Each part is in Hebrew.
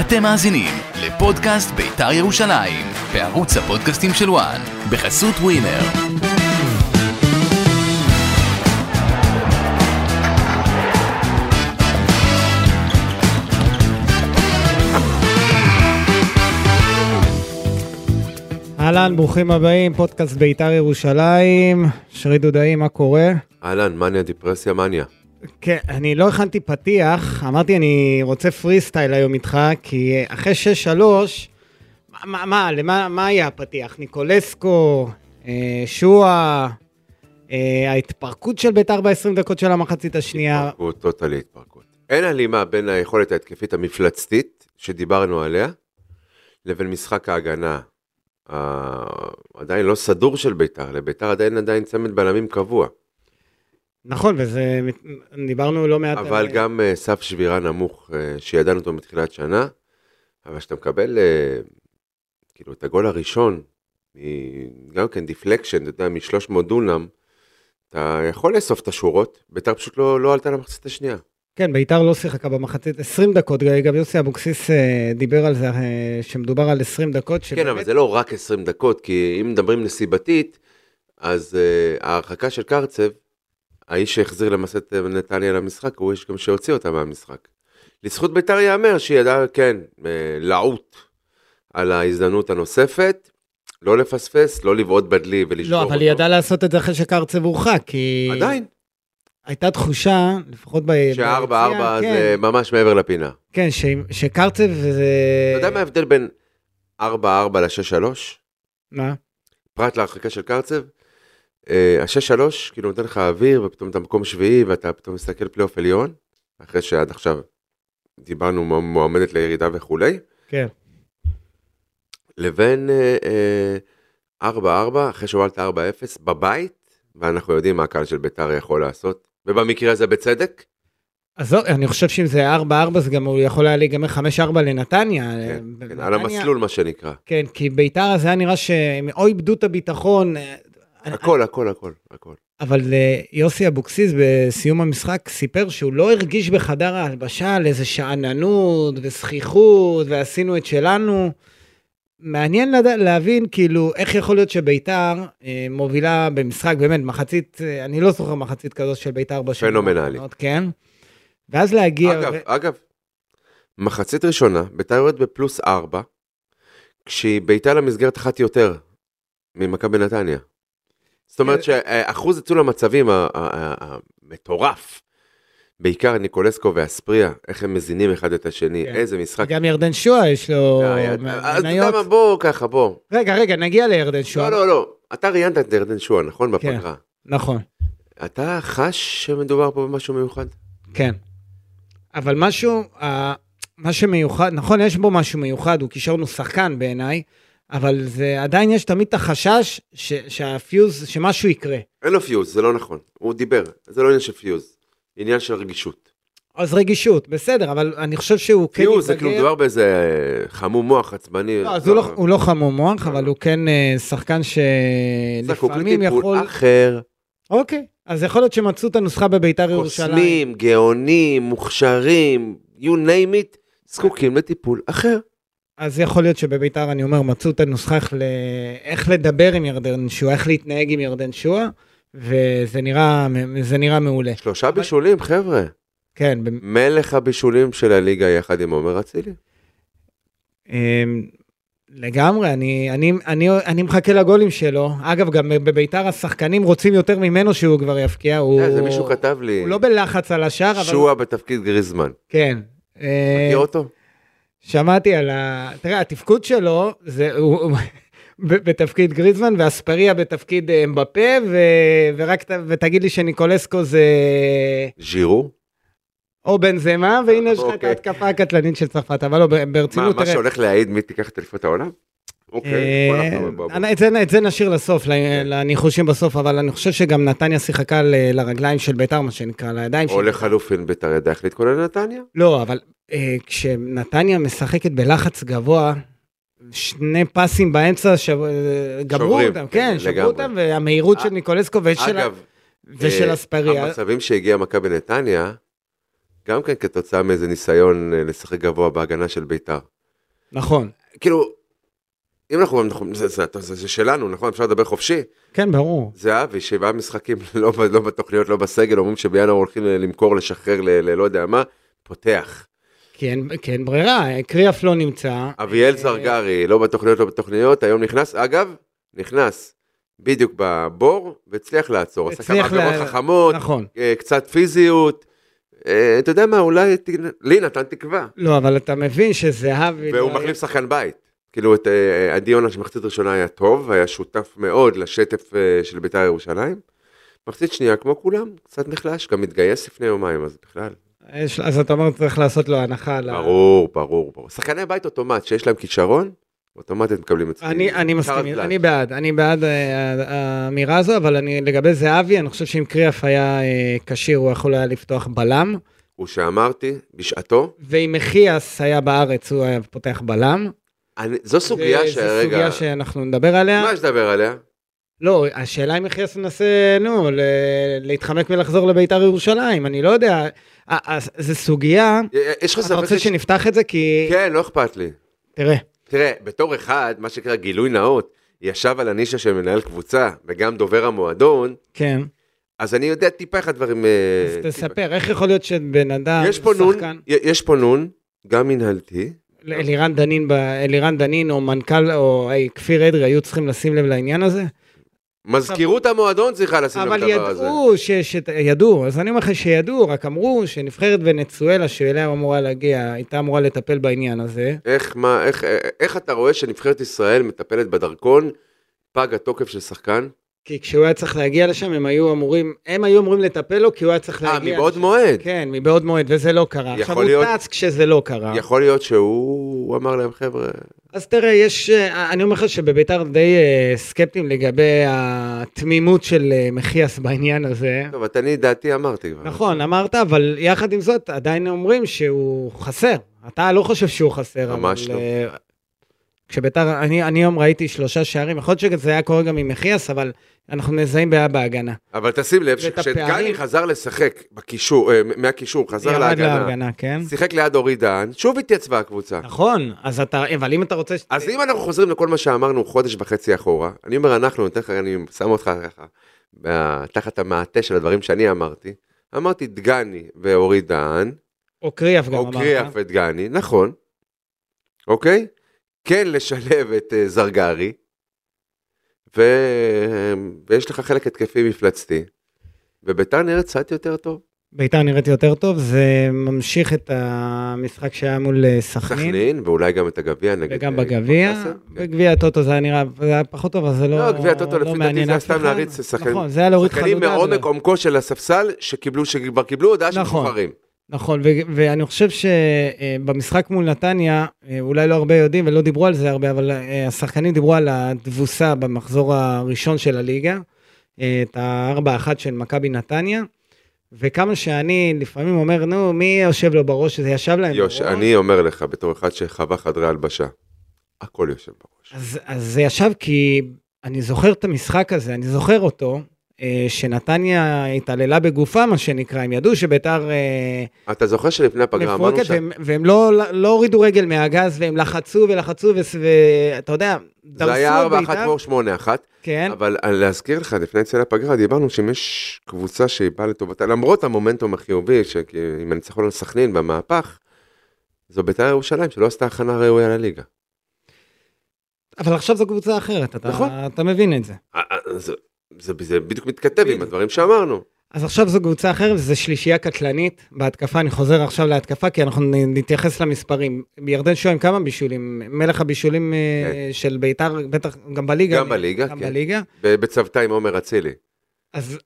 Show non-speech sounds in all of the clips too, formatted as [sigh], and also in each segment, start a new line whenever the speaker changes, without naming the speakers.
אתם מאזינים לפודקאסט בית"ר ירושלים, בערוץ הפודקאסטים של וואן, בחסות ווינר.
אהלן, ברוכים הבאים, פודקאסט בית"ר ירושלים. שרי דודאי, מה קורה?
אהלן, מניה דיפרסיה מניה.
כן, אני לא הכנתי פתיח, אמרתי אני רוצה פרי סטייל היום איתך, כי אחרי 6-3, מה, מה, מה, למה, מה היה הפתיח? ניקולסקו, אה, שואה, אה, ההתפרקות של בית"ר ב-20 דקות של המחצית השנייה.
התפרקות, טוטלי התפרקות. אין הלימה בין היכולת ההתקפית המפלצתית, שדיברנו עליה, לבין משחק ההגנה ה- עדיין לא סדור של ביתר, לביתר עדיין עדיין צמד בלמים קבוע.
נכון, וזה, דיברנו לא מעט...
אבל
על-
גם אה, סף שבירה נמוך אה, שידענו אותו מתחילת שנה, אבל כשאתה מקבל אה, כאילו את הגול הראשון, מ- גם כן דיפלקשן, אתה יודע, מ-300 דונם, אתה יכול לאסוף את השורות, ביתר פשוט לא, לא עלתה למחצית השנייה.
כן, ביתר לא שיחקה במחצית 20 דקות, גם יוסי אבוקסיס אה, דיבר על זה, אה, שמדובר על 20 דקות.
כן, אבל זה לא רק 20 דקות, כי אם מדברים נסיבתית, אז uh, ההרחקה של קרצב, האיש שהחזיר למעשה את אה, נתניה למשחק, הוא האיש גם שהוציא אותה מהמשחק. לזכות בית"ר ייאמר שהיא ידעה, כן, אה, לעוט על ההזדמנות הנוספת, לא לפספס, לא לבעוט בדלי ולשבור
לא,
אותו.
אבל היא ידעה לעשות את זה אחרי שקרצב הורחק, כי...
עדיין,
הייתה תחושה, לפחות ב...
שהארבע
ביציע,
ארבע
אה, כן,
זה ממש מעבר לפינה.
כן, ש... שקרצב זה...
אתה יודע מה ההבדל בין ארבע ארבע לשש שלוש?
מה?
פרט להרחקה של קרצב, השש שלוש, כאילו נותן לך אוויר, ופתאום אתה מקום שביעי, ואתה פתאום מסתכל פלייאוף עליון, אחרי שעד עכשיו דיברנו מ- מועמדת לירידה וכולי,
כן.
לבין אה, אה, ארבע ארבע, אחרי שהובלת ארבע אפס, בבית, ואנחנו יודעים מה הקהל של ביתר יכול לעשות, ובמקרה הזה בצדק,
אז זו, אני חושב שאם זה 4-4, אז גם הוא יכול היה להיגמר 5-4 לנתניה.
כן,
ב-
כן,
בנתניה-
על המסלול מה שנקרא.
כן, כי ביתר זה היה נראה שהם או איבדו את הביטחון, אה,
הכל, הכל, הכל, הכל.
אבל אה, יוסי אבוקסיס בסיום המשחק סיפר שהוא לא הרגיש בחדר ההלבשה על איזה שאננות וזכיחות ועשינו את שלנו. מעניין לד... להבין כאילו איך יכול להיות שביתר אה, מובילה במשחק באמת מחצית, אה, אני לא זוכר מחצית כזו של ביתר בשנים
פנומנלי.
האחרונות, כן. ואז להגיע,
אגב, אגב, מחצית ראשונה, ביתר יורדת בפלוס 4, כשהיא בעיטה למסגרת אחת יותר ממכבי נתניה. זאת
אה,
אומרת שאחוז ניצול המצבים ה- ה- ה- המטורף, בעיקר ניקולסקו ואספריה, איך הם מזינים אחד את השני,
כן.
איזה משחק.
גם ירדן שואה יש לו
היה- אז אה, אתה יודע
מניות.
מה, בוא ככה, בוא.
רגע, רגע, נגיע לירדן שואה.
לא, לא, לא. אתה ראיינת את ירדן שואה, נכון?
כן.
בפגרה.
נכון,
אתה חש שמדובר פה במשהו מיוחד?
כן. אבל משהו, אה, מה שמיוחד, נכון, יש בו משהו מיוחד, הוא קישרנו שחקן בעיניי, אבל זה עדיין יש תמיד את החשש ש, שהפיוז, שמשהו יקרה.
אין לו פיוז, זה לא נכון. הוא דיבר, זה לא עניין של פיוז, עניין של רגישות.
אז רגישות, בסדר, אבל אני חושב שהוא כן
פיוז זה כאילו מדובר באיזה חמום מוח עצבני.
לא, אז הוא לא, הוא לא חמום מוח,
לא,
אבל
לא.
הוא כן אה, שחקן
זקוק
שלפעמים
לטיפול
יכול...
אחר,
אוקיי, אז יכול להיות שמצאו את הנוסחה בביתר ירושלים.
קוסמים, גאונים, מוכשרים, you name it,
כן.
זקוקים לטיפול אחר.
אז יכול להיות שבביתר, אני אומר, מצאו את הנוסחה איך, ל... איך לדבר עם ירדן שואה, איך להתנהג עם ירדן שואה, וזה נראה, זה נראה מעולה.
שלושה בישולים, חבר'ה.
כן, ב...
מלך הבישולים של הליגה יחד עם עומר אצילי.
אמ, לגמרי, אני, אני, אני, אני מחכה לגולים שלו. אגב, גם בביתר השחקנים רוצים יותר ממנו שהוא כבר יפקיע. הוא,
אתה יודע, אה, זה מישהו כתב לי,
הוא לא בלחץ על השאר, אבל...
שועה בתפקיד גריזמן.
כן. אה,
מכיר אותו?
שמעתי על ה... תראה, התפקוד שלו, זה הוא הוא- ב- בתפקיד גריזמן, ואספריה בתפקיד אה, אמבפה, ו... ורק ת... ותגיד לי שניקולסקו זה
ז'ירו?
או בנזמה, והנה יש לך את
אוקיי.
ההתקפה הקטלנית של צרפת, אבל לא, ב-
מה,
ברצינות,
מה שהולך להעיד מי תיקח את אליפות העולם? אוקיי, בוא
אה,
נחזור לבבו.
את זה- את זה נשאיר לסוף, ל-
אוקיי.
לניחושים בסוף, אבל אני חושב שגם נתניה שיחקה ל- לרגליים של ביתר, מה שנקרא, לידיים של...
או לחלופין ביתר ידע איך להתכונן לנתניה?
לא, אבל אה, כשנתניה משחקת בלחץ גבוה, שני פסים באמצע שב... אה, גמרו
שוברים,
אותם,
כן,
כן, שברו
לגמרי.
אותם, והמהירות של
אה,
ניקולסקו ושל, ה-
אגב,
ושל
אה,
אספריה.
המצבים שהגיע מכבי נתניה, גם כן כתוצאה מאיזה ניסיון אה, לשחק גבוה בהגנה של ביתר.
נכון.
כאילו, אם אנחנו, אנחנו זה, זה, זה, זה שלנו, נכון? אפשר לדבר חופשי.
כן, ברור.
זהבי, שבעה משחקים [laughs] לא, ב- לא בתוכניות, לא בסגל, אומרים שבינואר הולכים אה, למכור, לשחרר ל- ללא יודע מה, פותח.
כי אין, כי אין ברירה, קריאף לא נמצא.
אביאל
אה,
זרגרי, לא בתוכניות, לא בתוכניות, היום נכנס, אגב, נכנס בדיוק בבור, והצליח לעצור. עשה כמה
הצליח ל-
עבירות חכמות,
נכון.
אה, קצת פיזיות. אה, אתה יודע מה, אולי ת- לי נתן תקווה.
לא, אבל אתה מבין שזהבי...
והוא
לא-
מחליף שחקן בית. כאילו, את אה, עדי יונה שמחצית ראשונה היה טוב, היה שותף מאוד לשטף אה, של בית"ר ירושלים. מחצית שנייה, כמו כולם, קצת נחלש, גם התגייס לפני יומיים, אז בכלל.
יש- אז אתה אומר, צריך לעשות לו הנחה. על ה-
ברור, ברור, ברור. שחקני בית אוטומט, שיש להם כישרון, אוטומטית מקבלים את זה.
אני, אני מסכים, אני בעד, אני בעד אה, האמירה הזו, אבל אני, לגבי זהבי, אני חושב שאם קריאף היה אה, כשיר, הוא יכול היה לפתוח בלם,
הוא שאמרתי, בשעתו,
ואם מחיאס היה בארץ, הוא היה פותח בלם. אה,
אני- זו סוגיה
זה- זו
שרגע,
סוגיה שאנחנו נדבר עליה.
מה יש לדבר עליה?
לא, השאלה אם יחיא מנסה, נו, ל- להתחמק מלחזור לביתר ירושלים, אני לא יודע. ה- ה- זו סוגיה,
יש לך
אתה רוצה
ספק? ש-
שנפתח את זה? כי...
כן, לא אכפת לי.
תראה,
תראה, בתור אחד, מה שנקרא גילוי נאות, ישב על הנישה של מנהל קבוצה, וגם דובר המועדון,
כן,
אז אני יודע טיפה איך הדברים... אה,
אז
טיפה.
תספר, איך יכול להיות שבן אדם,
יש פה נון,
שחקן,
י- יש פה נון, גם מנהלתי,
אלירן דנין, ב- אלירן דנין או מנכ"ל או אה, כפיר אדרי היו צריכים לשים לב לעניין הזה?
מזכירות המועדון צריכה לשים לב
אבל
לדבר הזה.
ידעו, ש, ש, ידעו, אז אני אומר לך שידעו, רק אמרו שנבחרת ונצואלה שאליה אמורה להגיע, הייתה אמורה לטפל בעניין הזה.
איך, מה, איך, אה, איך אתה רואה שנבחרת ישראל מטפלת בדרכון, פג התוקף של שחקן?
כי כשהוא היה צריך להגיע לשם, הם היו אמורים, הם היו אמורים לטפל לו, כי הוא היה צריך
אה,
להגיע.
מבעוד
לשם.
מועד.
כן, מבעוד מועד, וזה לא קרה. עכשיו
יכול
הוא
להיות-
טץ כשזה לא קרה.
יכול להיות שהוא הוא אמר להם, חבר'ה,
אז תראה, יש, אה, אני אומר לך שבביתר די אה, סקפטיים לגבי התמימות של אה, מחיאס בעניין הזה.
טוב, את אני דעתי אמרתי כבר.
נכון, אמרת, אבל יחד עם זאת, עדיין אומרים שהוא חסר. אתה לא חושב שהוא חסר,
ממש לא.
אה, כשביתר, אני, אני היום ראיתי שלושה שערים, יכול להיות שזה היה קורה גם עם מחיאס, אבל אנחנו מזהים בעיה בהגנה.
אבל תשים לב
ואת
שכשדגני
הפערים-
חזר לשחק בקישור, אה, מהקישור, חזר
ירד
להגנה,
להגנה, כן.
שיחק ליד אורי דהן, שוב התייצבה הקבוצה.
נכון, אז אתה, אבל אם אתה רוצה... ש-
אז אם אנחנו חוזרים לכל מה שאמרנו חודש וחצי אחורה, אני אומר אנחנו, אני, אתן לך- אני שם אותך ככה, ב- תחת המעטה של הדברים שאני אמרתי, אמרתי דגני ואורי דהן,
או קריאף גם
או
אמרת.
קריאף ודגני, נכון, אוקיי? כן לשלב את אה, זרגרי, ו... ויש לך חלק התקפי מפלצתי, וביתר נראית קצת יותר טוב.
ביתר נראית יותר טוב, זה ממשיך את המשחק שהיה מול אה, סכנין,
סכנין, ואולי גם את הגביע נגד...
וגם
אה,
בגביע,
כפר קאסם.
בגביע הטוטו זה היה נראה, זה היה פחות טוב, אז זה לא
לא, גביע הטוטו,
לא
לפי דעתי
מעניין
זה היה
אף
סתם
אחד.
להריץ שחקנים-
נכון, זה היה להוריד חלודה.
שחקנים
זה-
מעומק עומקו של הספסל, שקיבלו, שכבר קיבלו הודעה שהם
נכון.
משוחררים.
נכון, ו- ואני חושב שבמשחק מול נתניה, אה, אולי לא הרבה יודעים ולא דיברו על זה הרבה, אבל אה, השחקנים דיברו על התבוסה במחזור הראשון של הליגה, אה, את ה-4-1 של מכבי נתניה, וכמה שאני לפעמים אומר, נו, מי יושב לו בראש, זה ישב להם
יוש,
בראש.
אני אומר לך, בתור אחד שחווה חדרי הלבשה, הכל יושב בראש.
אז, אז זה ישב כי אני זוכר את המשחק הזה, אני זוכר אותו, אה, שנתניה התעללה בגופה, מה שנקרא, הם ידעו שביתר... אה,
אתה זוכר שלפני הפגרה אמרנו
מפורקת,
ש...
והם, והם לא, לא הורידו רגל מהגז, והם לחצו ולחצו, וס- ואתה יודע, דרסו
זה היה 4-1
בעיטה,
כמו 8-1,
כן,
אבל אה, להזכיר לך, לפני יציאה לפגרה דיברנו שאם יש קבוצה שהיא באה לטובתה, למרות המומנטום החיובי, שעם הניצחון על סכנין במהפך, זו בית"ר ירושלים שלא עשתה הכנה ראויה לליגה.
אבל עכשיו זו קבוצה אחרת, אתה,
נכון.
אתה מבין את זה.
אה, אה, זה- זה זה בדיוק מתכתב עם הדברים שאמרנו.
אז עכשיו זו קבוצה אחרת, וזו שלישייה קטלנית בהתקפה, אני חוזר עכשיו להתקפה, כי אנחנו נ- נתייחס למספרים. ירדן שוהם כמה בישולים? מלך הבישולים אה,
כן.
של ביתר, בטח גם בליגה.
גם בליגה,
גם
כן.
בליגה.
בצוותא עם עומר אצילי.
אז,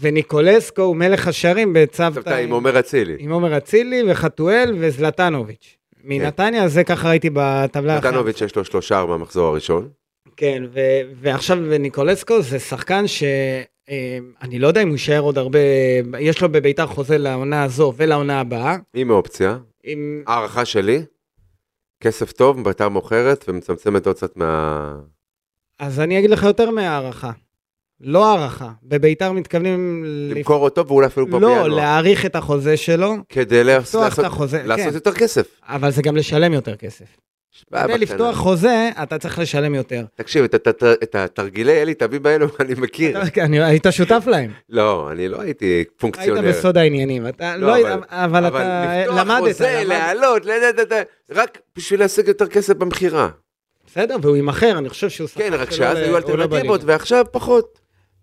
וניקולסקו הוא מלך השערים
צוותא
בצוותא
עם עומר אצילי.
עם עומר אצילי וחתואל וזלטנוביץ'. מנתניה, זה ככה ראיתי בטבלה. אחת.
נתנוביץ' יש לו שלושה ארבע מהמחזור הראשון.
כן, ו- ועכשיו ניקולסקו זה שחקן ש... אה, אני לא יודע אם הוא יישאר עוד הרבה, יש לו בביתר חוזה לעונה הזו ולעונה הבאה.
עם אופציה.
עם...
הערכה שלי, כסף טוב, ביתר מוכרת ומצמצמת עוד קצת מה...
אז אני אגיד לך יותר מהערכה. לא הערכה, בביתר מתכוונים... לפ-
למכור אותו ואולי אפילו כבר
לא,
בינואר.
להאריך את החוזה שלו,
כדי לעשות-
לפתוח את
לעשות אה,
החוזה, כן.
לעשות יותר כסף.
אבל זה גם לשלם יותר כסף.
שמע,
כדי
בקטנה.
לפתוח חוזה, אתה צריך לשלם יותר.
תקשיב, את הת- את התרגילי אלי תביב האלו [laughs] אני מכיר.
אתה- אני- היית שותף להם,
לא, אני לא הייתי
היית
פונקציונר.
בסוד העניינים, אתה
לא,
לא,
אבל-
אבל אתה
לפתוח
למדת,
חוזה,
למדת.
לעלות, לא, לא, לא, לא, רק בשביל להשיג יותר כסף במכירה.
בסדר, והוא ימכר, אני חושב שהוא...
כן,
שחקן
רק
שלא ל-
שאז היו
הוא לא
אלטרנטיבות,
בליגה.
ועכשיו פחות.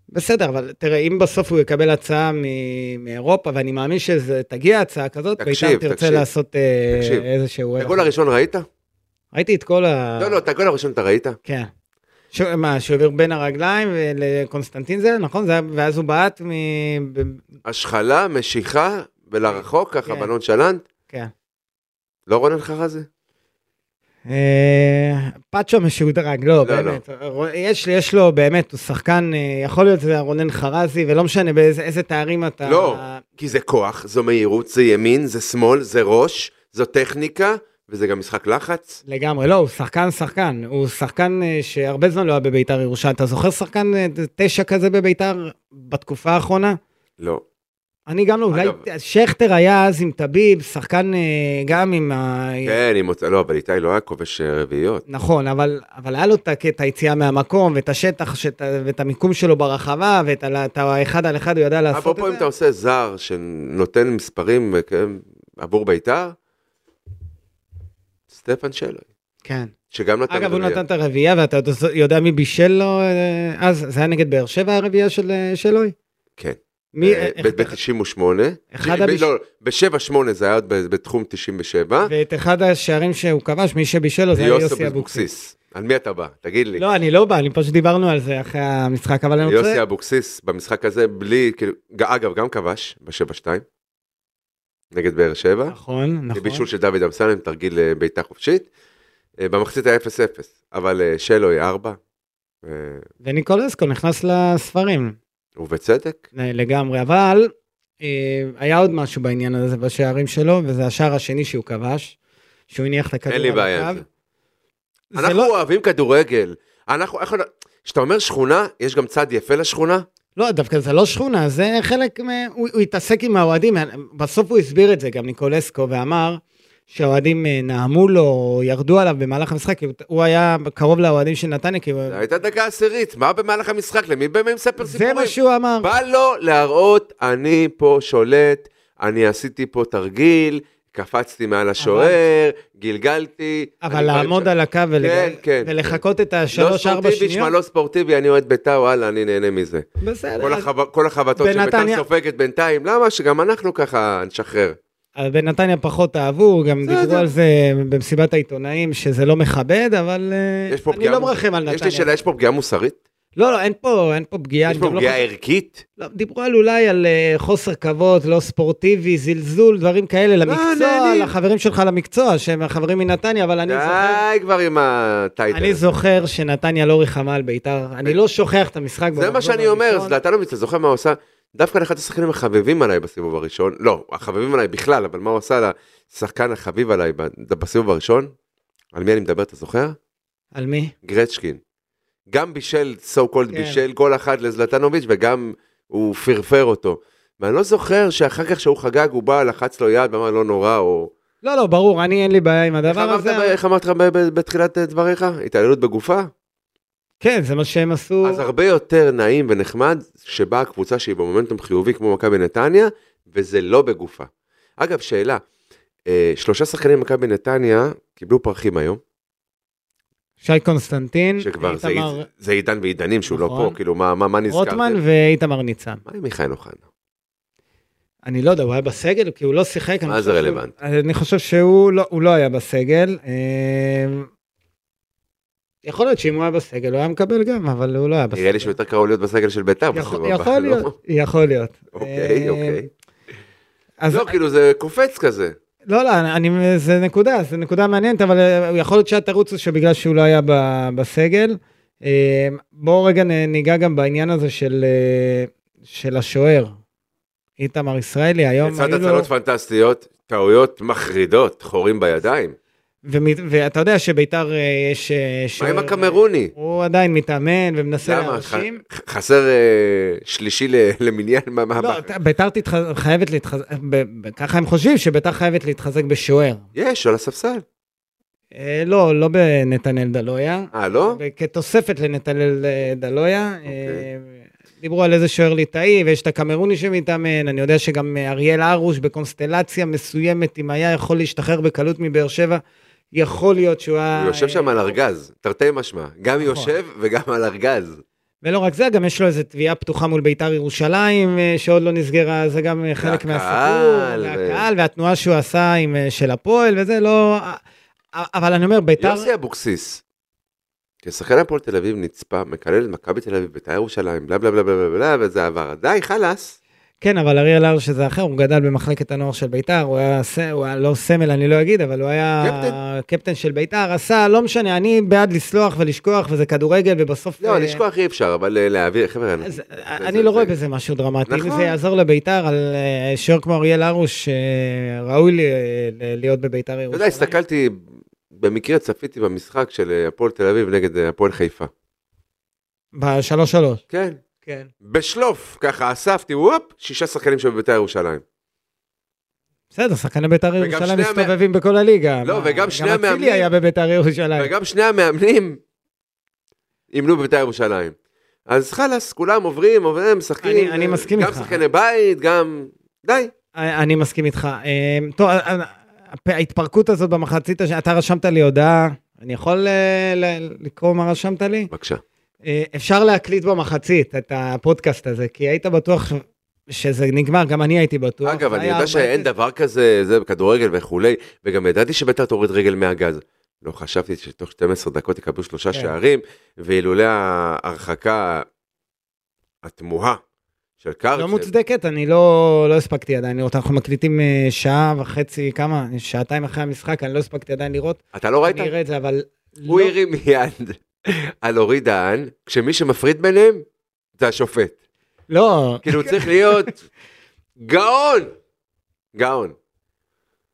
בסדר, אבל תראה, אם בסוף הוא יקבל הצעה מ- מאירופה, ואני מאמין שתגיע הצעה כזאת,
תקשיב,
בית"ר תרצה
תקשיב.
לעשות אה,
תקשיב.
איזשהו...
את הגול הראשון ראית?
אה. ראיתי את כל ה...
לא, לא, את הגול הראשון אתה ראית?
כן. ש... מה, שהוא העביר בין הרגליים לקונסטנטין זה, נכון? זה... היה- ואז הוא בעט מ... ב-
השחלה, משיכה, ולרחוק, ככה
כן.
בלון שלנט.
כן.
לא רונן חרזי?
אה, פאצ'ו משודרג, לא,
לא,
באמת. רו- יש, לי- יש לו, באמת, הוא שחקן, אה, יכול להיות זה רונן חרזי, ולא משנה באיזה איזה תארים אתה...
לא. כי זה כוח, זו מהירות, זה ימין, זה שמאל, זה ראש, זו טכניקה, וזה גם משחק לחץ.
לגמרי, לא, הוא שחקן שחקן, הוא שחקן אה, שהרבה זמן לא היה בביתר ירושלים. אתה זוכר שחקן אה, תשע כזה בביתר בתקופה האחרונה?
לא.
אני גם לא, אולי
אגב-
שכטר היה אז עם טביב, שחקן אה, גם עם ה...
כן, אם רוצה, לא, אבל איתי לא היה כובש אה, רביעיות.
נכון, אבל, אבל היה לו את הקטע היציאה מהמקום, ואת השטח, שאת, ואת המיקום שלו ברחבה, ואת ה- את האחד על אחד, הוא ידע לעשות
אפרופו אם
את
אתה
זה.
עושה זר שנותן מספרים אה, כן, עבור בית"ר, סטפן שלוי,
כן.
שגם נתן...
אגב, הוא
רביעייה.
נתן את הרביעייה, ואתה יודע- יודע מי בישל לו אה, אז? זה היה נגד באר שבע הרביעייה של אה, שלוי?
כן.
מי,
אה,
איך-
ב- ב-98.
אחד
ב-
הביש-
לא, ב-7-8 זה היה עוד ב- בתחום 97.
ואת אחד השערים שהוא כבש, מי שבישל לו זה
זה
היה
יוסי
יוסי אבוקסיס.
אבוקסיס. על מי אתה בא? תגיד לי.
לא, אני לא בא, אני פשוט דיברנו על זה אחרי המשחק, אבל אני רוצה...
יוסי אבוקסיס במשחק הזה בלי, כאילו, ג- אגב, גם כבש ב-7-2 נגד באר שבע.
נכון, נכון.
בישול של דוד אמסלם, תרגיל אה, בעיטה חופשית. אה, במחצית היה 0-0, אבל אה, שלוי 4, אה,
וניקולסקו נכנס לספרים.
ובצדק.
לגמרי, אבל אה, היה עוד משהו בעניין הזה בשערים שלו, וזה השער השני שהוא כבש, שהוא הניח את הכדור
אין לי
על
בעיה עם
הקו.
זה.
זה
אנחנו
לא,
אוהבים כדורגל. אנחנו, איך... כשאתה אומר שכונה, יש גם צד יפה לשכונה.
לא, דווקא זה לא שכונה, זה חלק, מ... הוא, הוא התעסק עם האוהדים, בסוף הוא הסביר את זה, גם ניקולסקו, ואמר שהאוהדים אה, נעמו לו, או ירדו עליו במהלך המשחק, כי הוא- הוא היה קרוב לאוהדים של נתניה, כי הוא...
זו הייתה דקה עשירית, מה במהלך המשחק? למי באמת מספר סיפורים?
כן. זה מה שהוא אמר.
בא לו להראות, אני פה שולט, אני עשיתי פה תרגיל, קפצתי מעל השוער, גלגלתי.
אבל לעמוד על הקו ול...
כן, כן.
ולחכות את
לא
השלוש-ארבע
ספורטיבי, שמע,
שניות,
לא ספורטיבי, אני אוהד בית"ר, וואלה, אני נהנה מזה.
בסדר.
לא- כל
אז-
החב- כל החבטות שבית"ר
בנתניה-
סופגת בינתיים, למה שגם אנחנו ככה נשחרר?
אבל בנתניה פחות אהבו, גם
בסדר.
דיברו על זה במסיבת העיתונאים, שזה לא מכבד, אבל אה,
יש פה
אני
פגיעה
לא
מוס-
מרחם על
יש לי
נתניה.
שאלה, יש פה פגיעה מוסרית?
לא, לא, אין פה אין פה פגיעה.
יש
אני
פה
גם לא
פגיעה
חושב-
ערכית?
לא, דיברו על אולי על אה, חוסר כבוד, לא ספורטיבי, זלזול, דברים כאלה למקצוע,
לא, נהנים.
לחברים שלך למקצוע, שהם החברים מנתניה, אבל אני זוכר...
די כבר עם הטייטל.
אני זוכר שנתניה לא ריחמה על בית"ר, אני לא שוכח את המשחק.
זה
במחזור
מה שאני אומר,
הראשון.
זלטנוביץ, אתה זוכר מה הוא עשה? דווקא לאחד השחקנים החביבים עליי בסיבוב הראשון, לא, החביבים עליי בכלל, אבל מה הוא עשה לשחקן החביב עליי ב- בסיבוב הראשון? על מי אני מדבר, אתה זוכר?
על מי?
גרצ'קין. גם בישל, סו קולד
כן.
בישל כל אחד לזלטנוביץ' וגם הוא פרפר אותו. ואני לא זוכר שאחר כך שהוא חגג, הוא בא, לחץ לו יד ואמר לא נורא, או...
לא, לא, ברור, אני אין לי בעיה עם
איך
הדבר
אמרת ב-
הזה.
איך אמרת ב- ב- בתחילת אה, דבריך? התעללות בגופה?
כן, זה מה שהם עשו.
אז הרבה יותר נעים ונחמד שבאה קבוצה שהיא במומנטום חיובי כמו מכבי נתניה, וזה לא בגופה. אגב, שאלה, אה, שלושה שחקנים במכבי נתניה קיבלו פרחים היום,
שי קונסטנטין,
שכבר זה,
איתמר-
אית- זה עידן ועידנים שהוא לא
נכון.
פה, כאילו מה, מה, מה נזכרתם?
רוטמן ואיתמר ניצן.
מה עם מיכאל אוחנה?
אני לא יודע, הוא היה בסגל? כי הוא לא שיחק. אני
מה זה
חושב שהוא-
רלוונטי?
אני חושב שהוא לא, הוא לא היה בסגל. אה, יכול להיות שאם הוא היה בסגל הוא היה מקבל גם, אבל הוא לא היה בסגל.
נראה לי שהוא יותר קרוב להיות בסגל של בית"ר
יכול,
בסיבוב הבא.
יכול
לא?
להיות, יכול להיות.
אוקיי,
אה,
אוקיי.
אז
לא, כאילו זה קופץ כזה.
לא, לא, אני, זה נקודה, זה נקודה מעניינת, אבל אה, יכול להיות שהתירוץ הוא שבגלל שהוא לא היה ב, בסגל. אה, בואו רגע נ- ניגע גם בעניין הזה של, אה, של השוער. איתמר ישראלי, היום
לצד
היו לו...
הצלות פנטסטיות, טעויות מחרידות, חורים בידיים.
ומ- ואתה יודע שביתר אה, יש... אה,
מה עם
שוער-
הקמרוני?
הוא עדיין מתאמן ומנסה
למה?
להרשים.
ח- חסר אה, שלישי ל- למניין? מה- מה- מה-
לא, ת- ביתר תתח- חייבת להתחזק, ב- ב- ככה הם חושבים שביתר חייבת להתחזק בשוער.
יש, על הספסל.
אה, לא, לא בנתנאל דלויה.
אה, לא?
כתוספת לנתנאל אה, דלויה.
אוקיי.
אה, דיברו על איזה שוער ליטאי, ויש את הקמרוני שמתאמן, אני יודע שגם אה, אריאל הרוש בקונסטלציה מסוימת, אם היה יכול להשתחרר בקלות מבאר שבע, יכול להיות שהוא היה...
הוא יושב
אה,
שם על ארגז, תרתי משמע. גם
נכון.
יושב וגם על ארגז.
ולא רק זה, גם יש לו איזו תביעה פתוחה מול ביתר ירושלים, אה, שעוד לא נסגרה, זה גם אה, חלק
והקהל,
מהסיפור.
ו-
והקהל, והתנועה שהוא עשה עם, אה, של הפועל, וזה לא... אה, אה, אבל אני אומר, ביתר...
יוסי אבוקסיס, כשחקן הפועל תל אביב נצפה, מקלל את מכבי תל אביב, בית"ר ירושלים, בלה בלה בלה בלה בלה בלה, וזה עבר. די, חלאס.
כן, אבל אריאל הר שזה אחר, הוא גדל במחלקת הנוער של ביתר, הוא היה, ס- הוא היה לא סמל, אני לא אגיד, אבל הוא היה
קפטן.
קפטן של ביתר, עשה, לא משנה, אני בעד לסלוח ולשכוח, וזה כדורגל, ובסוף...
לא,
אה,
לשכוח אי אפשר, אבל אה, להעביר, חבר'ה, אנחנו-
אז,
זה-
אני לא רואה
זה-
בזה משהו דרמטי. אם
נכון.
זה יעזור לביתר, על אה, שוער כמו אריאל הרוש, אה, ראוי לי, אה, ל- להיות בביתר
אתה יודע,
ירושלים.
הסתכלתי, במקרה צפיתי במשחק של אה, הפועל תל אביב נגד אה, הפועל חיפה.
בשלוש שלוש.
כן.
כן.
בשלוף, ככה אספתי, וופ, שישה שחקנים של בית"ר ירושלים.
בסדר, שחקני ביתר
וגם
ירושלים
שני המא-
מסתובבים בכל הליגה.
לא,
מה,
וגם שני
גם
המאמנים-
אצילי היה בביתר ירושלים.
וגם שני המאמנים אימנו בבית"ר ירושלים. אז חלאס, כולם עוברים, עוברים, משחקים.
אני- אני
אה,
מסכים
גם
איתך.
שחקני בית, גם... די.
אני אני מסכים איתך. אה, טוב, אה, אה, הפ- ההתפרקות הזאת במחצית, הש- אתה רשמת לי הודעה, אני יכול אה, ל- לקרוא מה רשמת לי?
בבקשה.
אה, אפשר להקליט במחצית את הפודקאסט הזה, כי היית בטוח שזה נגמר, גם אני הייתי בטוח.
אגב, אני
לא, היה
יודע
4-0.
שאין דבר כזה, זה בכדורגל וכולי, וגם ידעתי שביתר תוריד רגל מהגז. לא חשבתי שתוך 12 דקות יקבלו שלושה
כן.
שערים, ואילולא ההרחקה התמוהה של קרצב,
לא מוצדקת, אני לא, לא הספקתי עדיין לראות, אנחנו מקליטים אה, שעה וחצי, כמה? שעתיים אחרי המשחק, אני לא הספקתי עדיין לראות.
אתה לא ראית?
אני אראה את זה, אבל...
הוא
לא-
הרים יד על אורי דהן, כשמי שמפריד ביניהם זה השופט.
לא,
כאילו הוא צריך להיות גאון! גאון.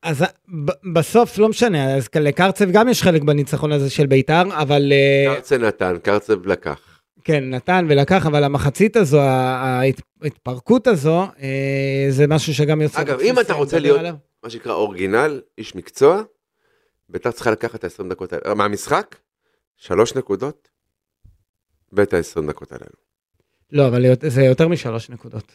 אז ב- בסוף לא משנה, אז לקרצב גם יש חלק בניצחון הזה של ביתר, אבל... אה,
קרצב נתן, קרצב לקח.
כן, נתן ולקח, אבל המחצית הזו, ה- ההתפרקות הזו, אה, זה משהו שגם יוצא...
אגב, אם אתה רוצה להיות- מה שנקרא אורגינל, איש מקצוע, ביתר צריכה לקחת את ה-20 דקות האלה, מהמשחק, שלוש נקודות, ואת ה-20 דקות האלה.
לא, אבל להיות- זה יותר משלוש נקודות.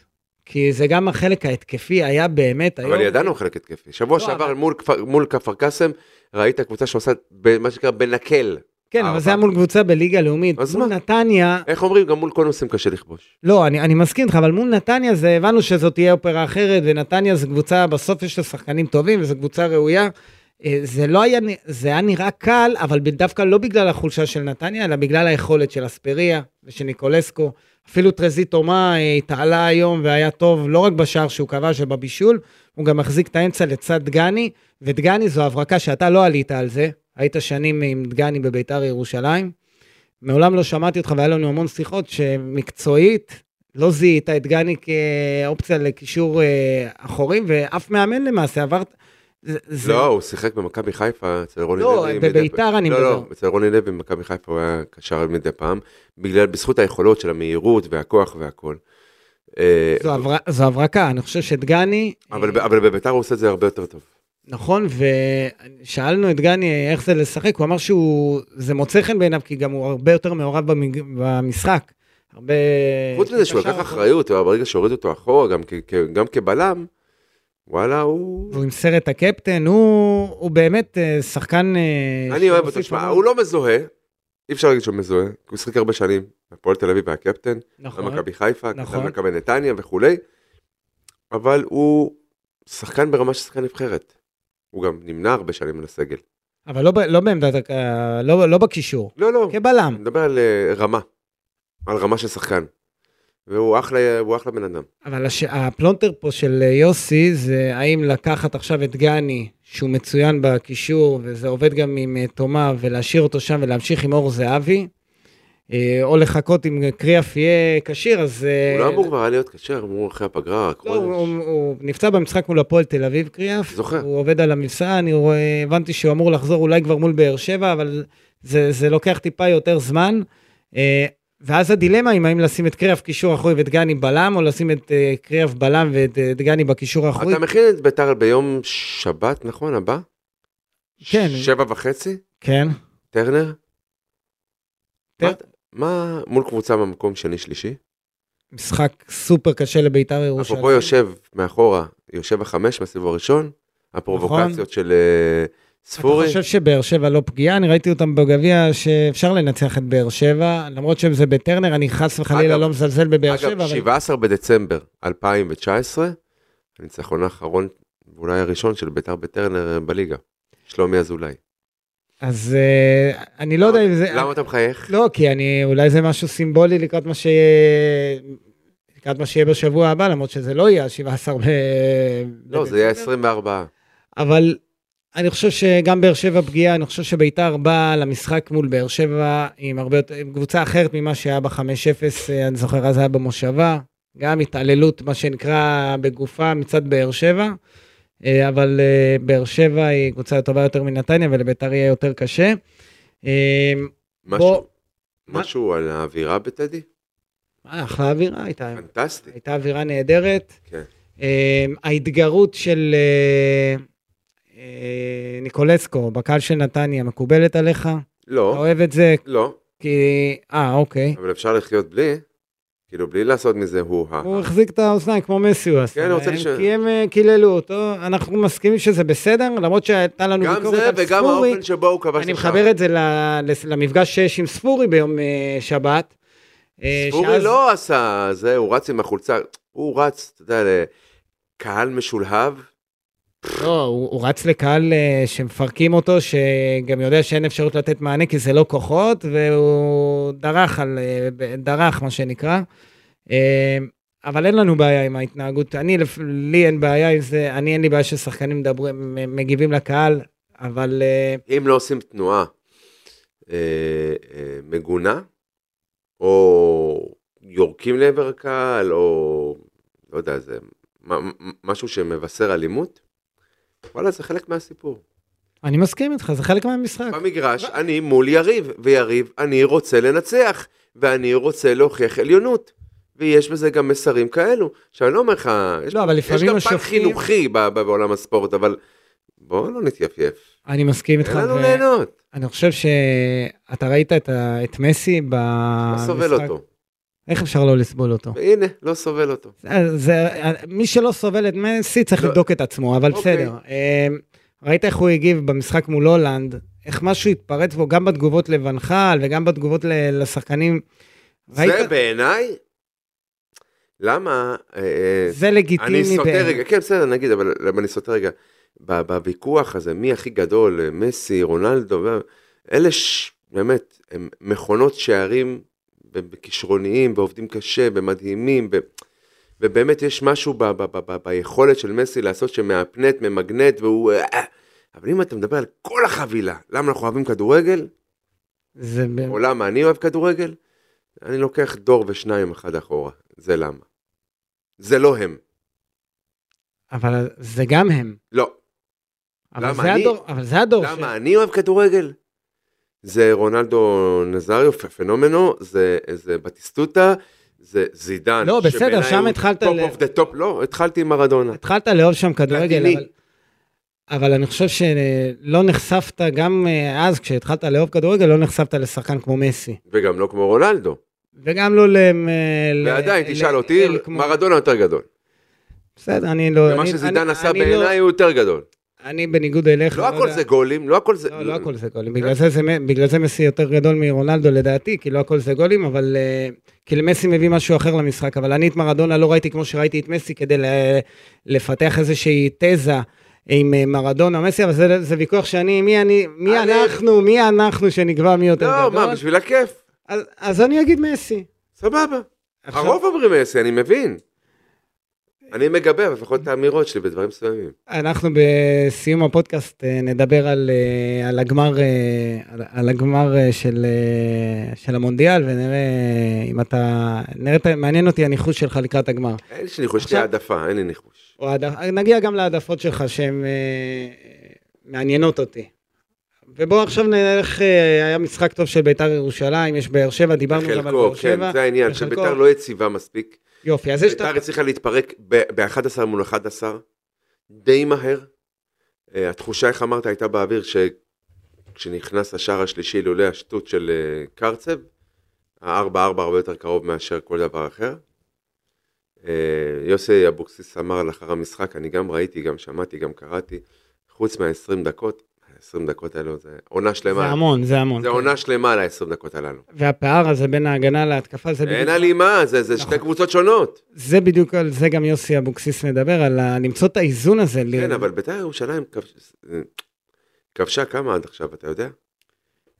כי זה גם החלק ההתקפי היה באמת היום...
אבל ידענו חלק התקפי. שבוע
לא,
שעבר
אבל-
מול כפר- מול כפר קאסם, ראית קבוצה שעושה ב- מה שנקרא בנקל.
כן, אבל
ארבע.
זה היה מול קבוצה בליגה לאומית.
אז
מול
מה?
נתניה,
איך אומרים, גם מול קונוסים קשה לכבוש.
לא, אני, אני מסכים איתך, אבל מול נתניה זה, הבנו שזאת תהיה אופרה אחרת, ונתניה זו קבוצה, בסוף יש לה שחקנים טובים, וזו קבוצה ראויה. אה, זה לא היה, נ- זה היה נראה קל, אבל ב- דווקא לא בגלל החולשה של נתניה, אלא בגלל היכולת של אספריה ושל ניקולסקו. אפילו טרזי תומה אה, התעלה היום והיה טוב, לא רק בשער שהוא כבש ובבישול, הוא גם מחזיק את האמצע לצד דגני, ודגני זו הברקה שאתה לא עלית על זה, היית שנים עם דגני בביתר ירושלים. מעולם לא שמעתי אותך והיה לנו המון שיחות שמקצועית לא זיהית את גני כאופציה לקישור אה, אחורי, ואף מאמן למעשה עברת... זה- זה-
לא, הוא שיחק במכבי חיפה אצל רוני לוי.
לא,
מדי
בביתר אני
לא,
מדבר.
לא, אצל רוני לוי במכבי חיפה הוא היה קשר מדי פעם, בגלל, בזכות היכולות של המהירות והכוח והכל. אה,
זו עברה- זו הברקה, אני חושב שדגני, אה,
אבל ב- אבל בביתר הוא עושה את זה הרבה יותר טוב.
נכון, ושאלנו את גני איך זה לשחק, הוא אמר שהוא, זה מוצא חן בעיניו, כי גם הוא הרבה יותר מעורב במג- במשחק. הרבה... אה,
חוץ מזה שהוא לקח אחריות, אבל ברגע שהורידו אותו אחורה, גם כ- כ- גם כבלם, וואלה, הוא...
והוא עם סרט הקפטן, הוא, הוא באמת אה, שחקן... אה,
אני אוהב אותו,
שמוסיף
שמע,
המון.
הוא לא מזוהה, אי אפשר להגיד שהוא מזוהה, כי הוא שיחק הרבה שנים, הפועל תל אביב היה קפטן,
נכון.
מכבי חיפה,
נכון.
נכון, מכבי נתניה וכולי, אבל הוא שחקן ברמה של שחקן נבחרת. הוא גם נמנע הרבה שנים על הסגל.
אבל לא, ב- לא בעמדת, הק- אה, לא, לא בקישור,
לא, לא,
כבלם.
אני מדבר על אה, רמה, על רמה של שחקן. והוא אחלה, הוא אחלה בן אדם.
אבל הש... הפלונטר פה של אה, יוסי זה האם לקחת עכשיו את גני, שהוא מצוין בקישור, וזה עובד גם עם אה, תומה, ולהשאיר אותו שם ולהמשיך עם אור זהבי, אה, או לחכות אם קריאף יהיה כשיר, אז... אה,
הוא לא אמור כבר היה להיות קשה, אמרו אחרי הפגרה,
לא, הוא,
הקרודש.
הוא, הוא נפצע במשחק מול הפועל תל אביב, קריאף.
זוכר.
הוא עובד על המבצע, אני רואה, הבנתי שהוא אמור לחזור אולי כבר מול באר שבע, אבל זה, זה לוקח טיפה יותר זמן. אה, ואז הדילמה אם האם לשים את קריאף קישור אחורי ואת דגני בלם, או לשים את אה, קריאף בלם ואת אה, דגני בקישור האחורי.
אתה מכין את ביתר ביום שבת, נכון, הבא?
כן.
שבע וחצי?
כן.
טרנר?
טר-
מה- מה מול קבוצה במקום שני-שלישי?
משחק סופר קשה לביתר ירושלים.
אפרופו יושב מאחורה, יושב החמש מהסיבוב הראשון, הפרובוקציות של אה, ספורי,
נכון. אתה חושב שבאר שבע לא פגיעה? אני ראיתי אותם בגביע שאפשר לנצח את באר שבע, למרות שזה בטרנר, אני חס וחלילה
אגב-
לא מזלזל בבאר שבע.
אגב,
אבל-
17 בדצמבר 2019, הניצחון האחרון, ואולי הראשון של ביתר בטרנר אה, בליגה, שלומי אזולאי.
אז אה, אני לא יודע אם זה...
למה אתה מחייך?
לא, כי אני, אולי זה משהו סימבולי לקראת מה ש... לקראת מה שיהיה בשבוע הבא, למרות שזה לא יהיה ה-17 ב...
לא, זה
בדצמבר.
יהיה 24.
אבל אני חושב שגם באר שבע פגיעה, אני חושב שביתר באה למשחק מול באר שבע עם הרבה יותר, עם קבוצה אחרת ממה שהיה ב-5-0, אה, אני זוכר, אז היה במושבה. גם התעללות, מה שנקרא, בגופה מצד באר שבע. אה, אבל אה, באר שבע היא קבוצה טובה יותר מנתניה, ולביתר יהיה יותר קשה. אה, בוא-
משהו- משהו על האווירה בטדי?
אה, אחלה אווירה הייתה היום.
פנטסטי.
הייתה אווירה נהדרת.
כן.
אה, ההתגרות של אה, אה, ניקולסקו בקהל של נתניה מקובלת עליך? אתה
לא,
אוהב את זה?
לא,
כי... אה, אוקיי.
אבל אפשר לחיות בלי, כאילו בלי לעשות מזה הו-הא.
הוא החזיק את האוזניים כמו מסי הוא עשה
כן, אני רוצה
להם,
לשאול.
כי הם אה, קיללו אותו, אנחנו מסכימים שזה בסדר, למרות שהייתה לנו
גם
ביקורת
זה
על
וגם
ספורי,
האופן שבו הוא כבש
אני מחבר את זה ל- לס- למפגש שיש עם ספורי ביום אה, שבת. אה,
ספורי
שאז-
לא עשה זה, הוא רץ עם החולצה, הוא רץ, אתה יודע, לקהל משולהב,
לא, הוא, הוא רץ לקהל uh, שמפרקים אותו, שגם יודע שאין אפשרות לתת מענה כי זה לא כוחות, והוא דרך על... Uh, דרך, מה שנקרא. Uh, אבל אין לנו בעיה עם ההתנהגות. אני, לפ- לי אין בעיה עם זה, אני אין לי בעיה ששחקנים מדברים, מגיבים לקהל, אבל uh,
אם לא עושים תנועה אה, אה, מגונה, או יורקים לעבר הקהל, או לא יודע, זה מ- מ- משהו שמבשר אלימות, וואלה, זה חלק מהסיפור.
אני מסכים איתך, זה חלק מהמשחק.
במגרש אני מול יריב, ויריב, אני רוצה לנצח, ואני רוצה להוכיח עליונות. ויש בזה גם מסרים כאלו, שאני לא אומר לך, יש,
לא, אבל
יש
לפעמים
גם פן
השופטים...
חינוכי ב- ב- בעולם הספורט, אבל בואו לא נתייפייף.
אני מסכים איתך.
אין לנו
ו-
ליהנות,
אני חושב שאתה ראית את, ה... את מסי
לא
במשחק.
סובל אותו.
איך אפשר לא לסבול אותו?
והנה, לא סובל אותו.
זה, זה, מי שלא סובל את מסי צריך
לא.
לבדוק את עצמו, אבל
אוקיי.
בסדר. אה, ראית איך הוא הגיב במשחק מול הולנד, איך משהו התפרץ בו גם בתגובות לבנחל וגם בתגובות ל- לשחקנים. ראית?
זה בעיניי, למה, אה, אה,
זה לגיטימי.
אני סוטה
בעיניי.
רגע, כן בסדר נגיד, אבל למה אני סוטה רגע, ב- בוויכוח הזה מי הכי גדול, אה, מסי, רונלדו, ו- אלה ש... באמת, הם מכונות שערים ו- וכישרוניים ועובדים קשה ומדהימים ו... ובאמת יש משהו ב- ב- ב- ב- ביכולת של מסי לעשות שמאפנט, ממגנט והוא... אה, אה. אבל אם אתה מדבר על כל החבילה, למה אנחנו אוהבים כדורגל,
זה ב-
או למה אני אוהב כדורגל, אני לוקח דור ושניים אחד אחורה, זה למה. זה לא הם,
אבל זה גם הם.
לא.
אבל
למה
זה
אני?
הדור- אבל זה הדור. ש-
למה אני אוהב כדורגל? זה רונלדו נזריו, פ- פנומנו, זה, זה בטיסטוטה, זה זידן.
לא, בסדר,
שבעיניי
שם
הוא
התחלת
top
ל-
of the top, לא, התחלתי עם מרדונה.
התחלת לאהוב שם כדורגל,
פלטיני.
אבל... אבל אני חושב שלא נחשפת, גם אה, אז כשהתחלת לאהוב כדורגל, לא נחשפת לשחקן כמו מסי.
וגם לא כמו רונלדו.
וגם לא ל... ל-
ועדיין,
ל-
תשאל אותי,
אל כמו-
מרדונה יותר גדול.
בסדר, אני לא...
ומה
אני-
שזידן
אני-
עשה
אני לא-
בעיניי הוא יותר גדול.
אני בניגוד אליך.
לא הכל
יודע-
זה גולים, לא הכל זה...
לא, לא הכל זה גולים. בגלל זה זה מ- בגלל זה מסי יותר גדול מרונלדו לדעתי, כי לא הכל זה גולים, אבל... אה, כי למסי מביא משהו אחר למשחק, אבל אני את מרדונה לא ראיתי כמו שראיתי את מסי כדי ל- לפתח איזושהי תזה. עם אה, מרדונה, מסי, אבל זה, זה ויכוח שאני, מי אני, מי
אני-
אנחנו, מי אנחנו שנקבע מי יותר
אה, לא,
גדול.
מה, בשביל הכיף,
אז, אז אני אגיד מסי.
סבבה.
עכשיו-
הרוב אומרים מסי, אני מבין. אני מגבה לפחות את האמירות שלי בדברים מסוימים.
אנחנו בסיום הפודקאסט אה, נדבר על, אה, על הגמר, אה, על, על הגמר אה, של, אה, של המונדיאל ונראה אה, אם אתה, נראה, את ה- מעניין אותי הניחוש שלך לקראת הגמר.
אין לי שניחוש, יש לי
עכשיו-
העדפה, אין לי ניחוש.
או העד- נגיע גם להעדפות שלך שהן אה, אה, מעניינות אותי. ובואו עכשיו נלך, אה, היה משחק טוב של ביתר ירושלים, יש באר שבע, דיברנו גם על
בחלקו,
באר שבע.
כן, זה העניין,
בחלקו.
שביתר לא יציבה מספיק.
יופי, אז יש את ה...
ביתר הצליחה להתפרק ב-11 מול 11, די מהר. אה, התחושה, איך אמרת, הייתה באוויר שכשנכנס השער השלישי, לולא השטות של אה, קרצב, הארבע ארבע הרבה יותר קרוב מאשר כל דבר אחר. אה, יוסי אבוקסיס אמר לאחר המשחק, אני גם ראיתי, גם שמעתי, גם קראתי, חוץ מה-20 דקות, 20 דקות האלו זה עונה שלמה.
זה המון, זה המון.
זה
כן.
עונה שלמה על ה-20 דקות הללו.
והפער הזה בין ההגנה להתקפה, זה
אין
בדיוק,
הלימה, זה, זה שתי
נכון.
קבוצות שונות.
זה בדיוק על זה גם יוסי אבוקסיס מדבר, על ה- למצוא את האיזון הזה. ל-
כן, אבל בית"ר ירושלים כבש- אה, כבשה כמה עד עכשיו, אתה יודע?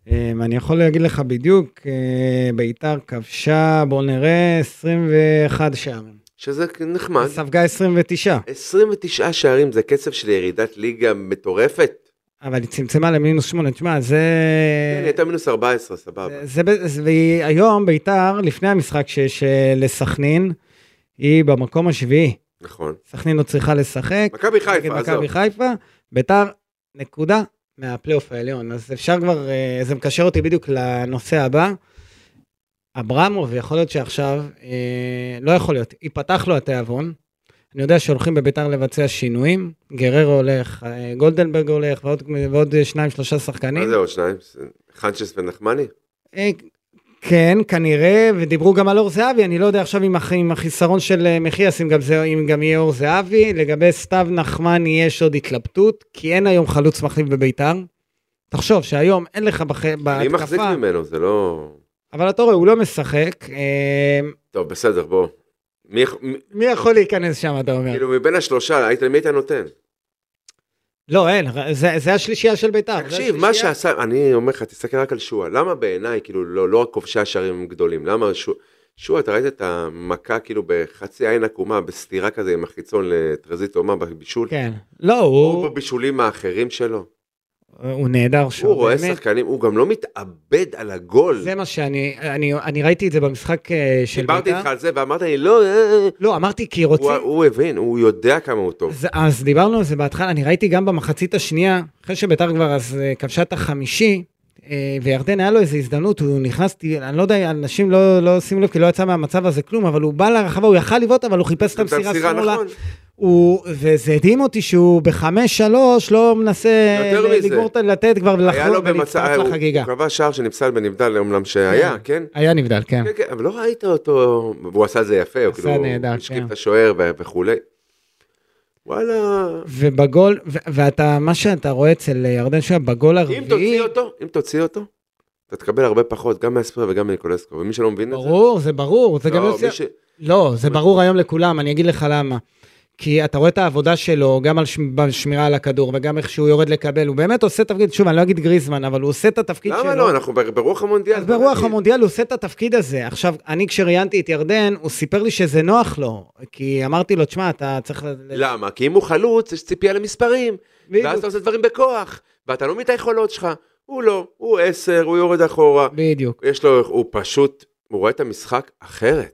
אמ, אני יכול להגיד לך בדיוק, אה, ביתר כבשה, בוא נראה, 21 שערים.
שזה נחמד.
ספגה 29,
29 שערים זה קצב של ירידת ליגה מטורפת.
אבל היא צמצמה למינוס 8. תשמע, זה...
כן, היא הייתה מינוס 14, סבבה.
זה, ב- זה, והיום ביתר, לפני המשחק שיש אה, לסכנין, היא במקום השביעי.
נכון.
סכנין לא צריכה לשחק.
מכבי
נגד
חיפה, עזוב.
מכבי חיפה, ביתר, נקודה מהפלייאוף העליון. אז אפשר כבר, אה, זה מקשר אותי בדיוק לנושא הבא. אברמוב, יכול להיות שעכשיו, אה, לא יכול להיות, ייפתח לו התיאבון. אני יודע שהולכים בביתר לבצע שינויים, גררו הולך, אה, גולדנברג הולך, ועוד, ועוד אה, שניים, שלושה שחקנים.
מה זה עוד שניים? חנצ'ס ונחמני?
אה, כן, כנראה, ודיברו גם על אור זהבי, אני לא יודע עכשיו אם, הח- אם החיסרון של אה, מחיאס, אם גם, זה, אם גם יהיה אור זהבי, לגבי סתיו נחמני יש עוד התלבטות, כי אין היום חלוץ מחליף בביתר. תחשוב שהיום אין לך בח...
אני מחזיק
בהתקפה,
ממנו, זה לא...
אבל אתה רואה, הוא לא משחק. אה,
טוב, בסדר, בוא. מי יכול- מי-
מי יכול להיכנס שם, אתה אומר?
כאילו, מבין השלושה, היית- למי היית נותן?
לא, אין, ר- זה, זה השלישייה של ביתר. זה
תקשיב, מה
השלישייה-
שעשה, אני אומר לך, תסתכל רק על שועה. למה בעיניי, כאילו, לא לא רק כובשי השערים הם גדולים, למה שועה, שועה, אתה ראית את המכה, כאילו, בחצי עין עקומה, בסתירה כזה עם החיצון לטרזית אומה בבישול?
כן. לא,
הוא
הוא,
בבישולים האחרים שלו.
הוא נהדר שם.
הוא רואה
באמת.
שחקנים, הוא גם לא מתאבד על הגול.
זה מה שאני, אני, אני ראיתי את זה במשחק אה, של ביתר.
דיברתי איתך על זה ואמרת לי, לא, אה, אה, אה."
לא, אמרתי כי רוצים...
הוא- הוא הבין, הוא יודע כמה הוא טוב.
אז, אז דיברנו על זה בהתחלה, אני ראיתי גם במחצית השנייה, אחרי שביתר כבר אז אה, כבשה את החמישי, אה, וירדן היה לו איזו הזדמנות, הוא נכנס, אני לא יודע, אנשים לא, לא שימו לב, כי לא יצא מהמצב הזה כלום, אבל הוא בא לרחבה, הוא יכל לבעוט, אבל הוא חיפש את המסירה שמאלה.
נכון.
הוא- וזה הדהים אותי שהוא בחמש-שלוש לא מנסה
יותר
ל-
מזה.
לגמור, את- לתת כבר
היה לו
לחזור
במצב, אה,
ולהצטרף
הוא
לחגיגה.
הוא כבש שער שנפסל בנבדל, אומנם שהיה, כן?
היה נבדל, כן.
כן, כן, אבל לא ראית אותו, והוא עשה את זה יפה, הוא
עשה
כאילו,
נהדר,
הוא השקיף
כן.
את השוער ו- וכולי. וואלה,
ובגול, ו- ואתה, מה שאתה רואה אצל אה, ירדן שועה, בגול הרביעי...
אם תוציא אותו, אם תוציא אותו, אתה תקבל הרבה פחות, גם מהספיר וגם מניקולסקו, ומי שלא מבין את זה,
ברור, זה ברור, זה גם
לא,
יוצא...
מי ש-
לא, זה
מה-
ברור היום לכולם, אני אגיד לך למה. כי אתה רואה את העבודה שלו, גם על ש... בשמירה על הכדור, וגם איך שהוא יורד לקבל, הוא באמת עושה תפקיד, שוב, אני לא אגיד גריזמן, אבל הוא עושה את התפקיד שלו.
למה לא, אנחנו ב- ברוח המונדיאל.
אז
בוא
ברוח
נגיד.
המונדיאל הוא עושה את התפקיד הזה. עכשיו, אני כשראיינתי את ירדן, הוא סיפר לי שזה נוח לו, כי אמרתי לו, תשמע, אתה צריך... ל-
למה? כי אם הוא חלוץ, יש ציפייה למספרים,
בדיוק.
ואז אתה עושה דברים בכוח, ואתה לא מבין את היכולות שלך. הוא לא, הוא עשר, הוא יורד אחורה,
בדיוק.
יש לו, הוא פשוט, הוא רואה את המשחק אחרת.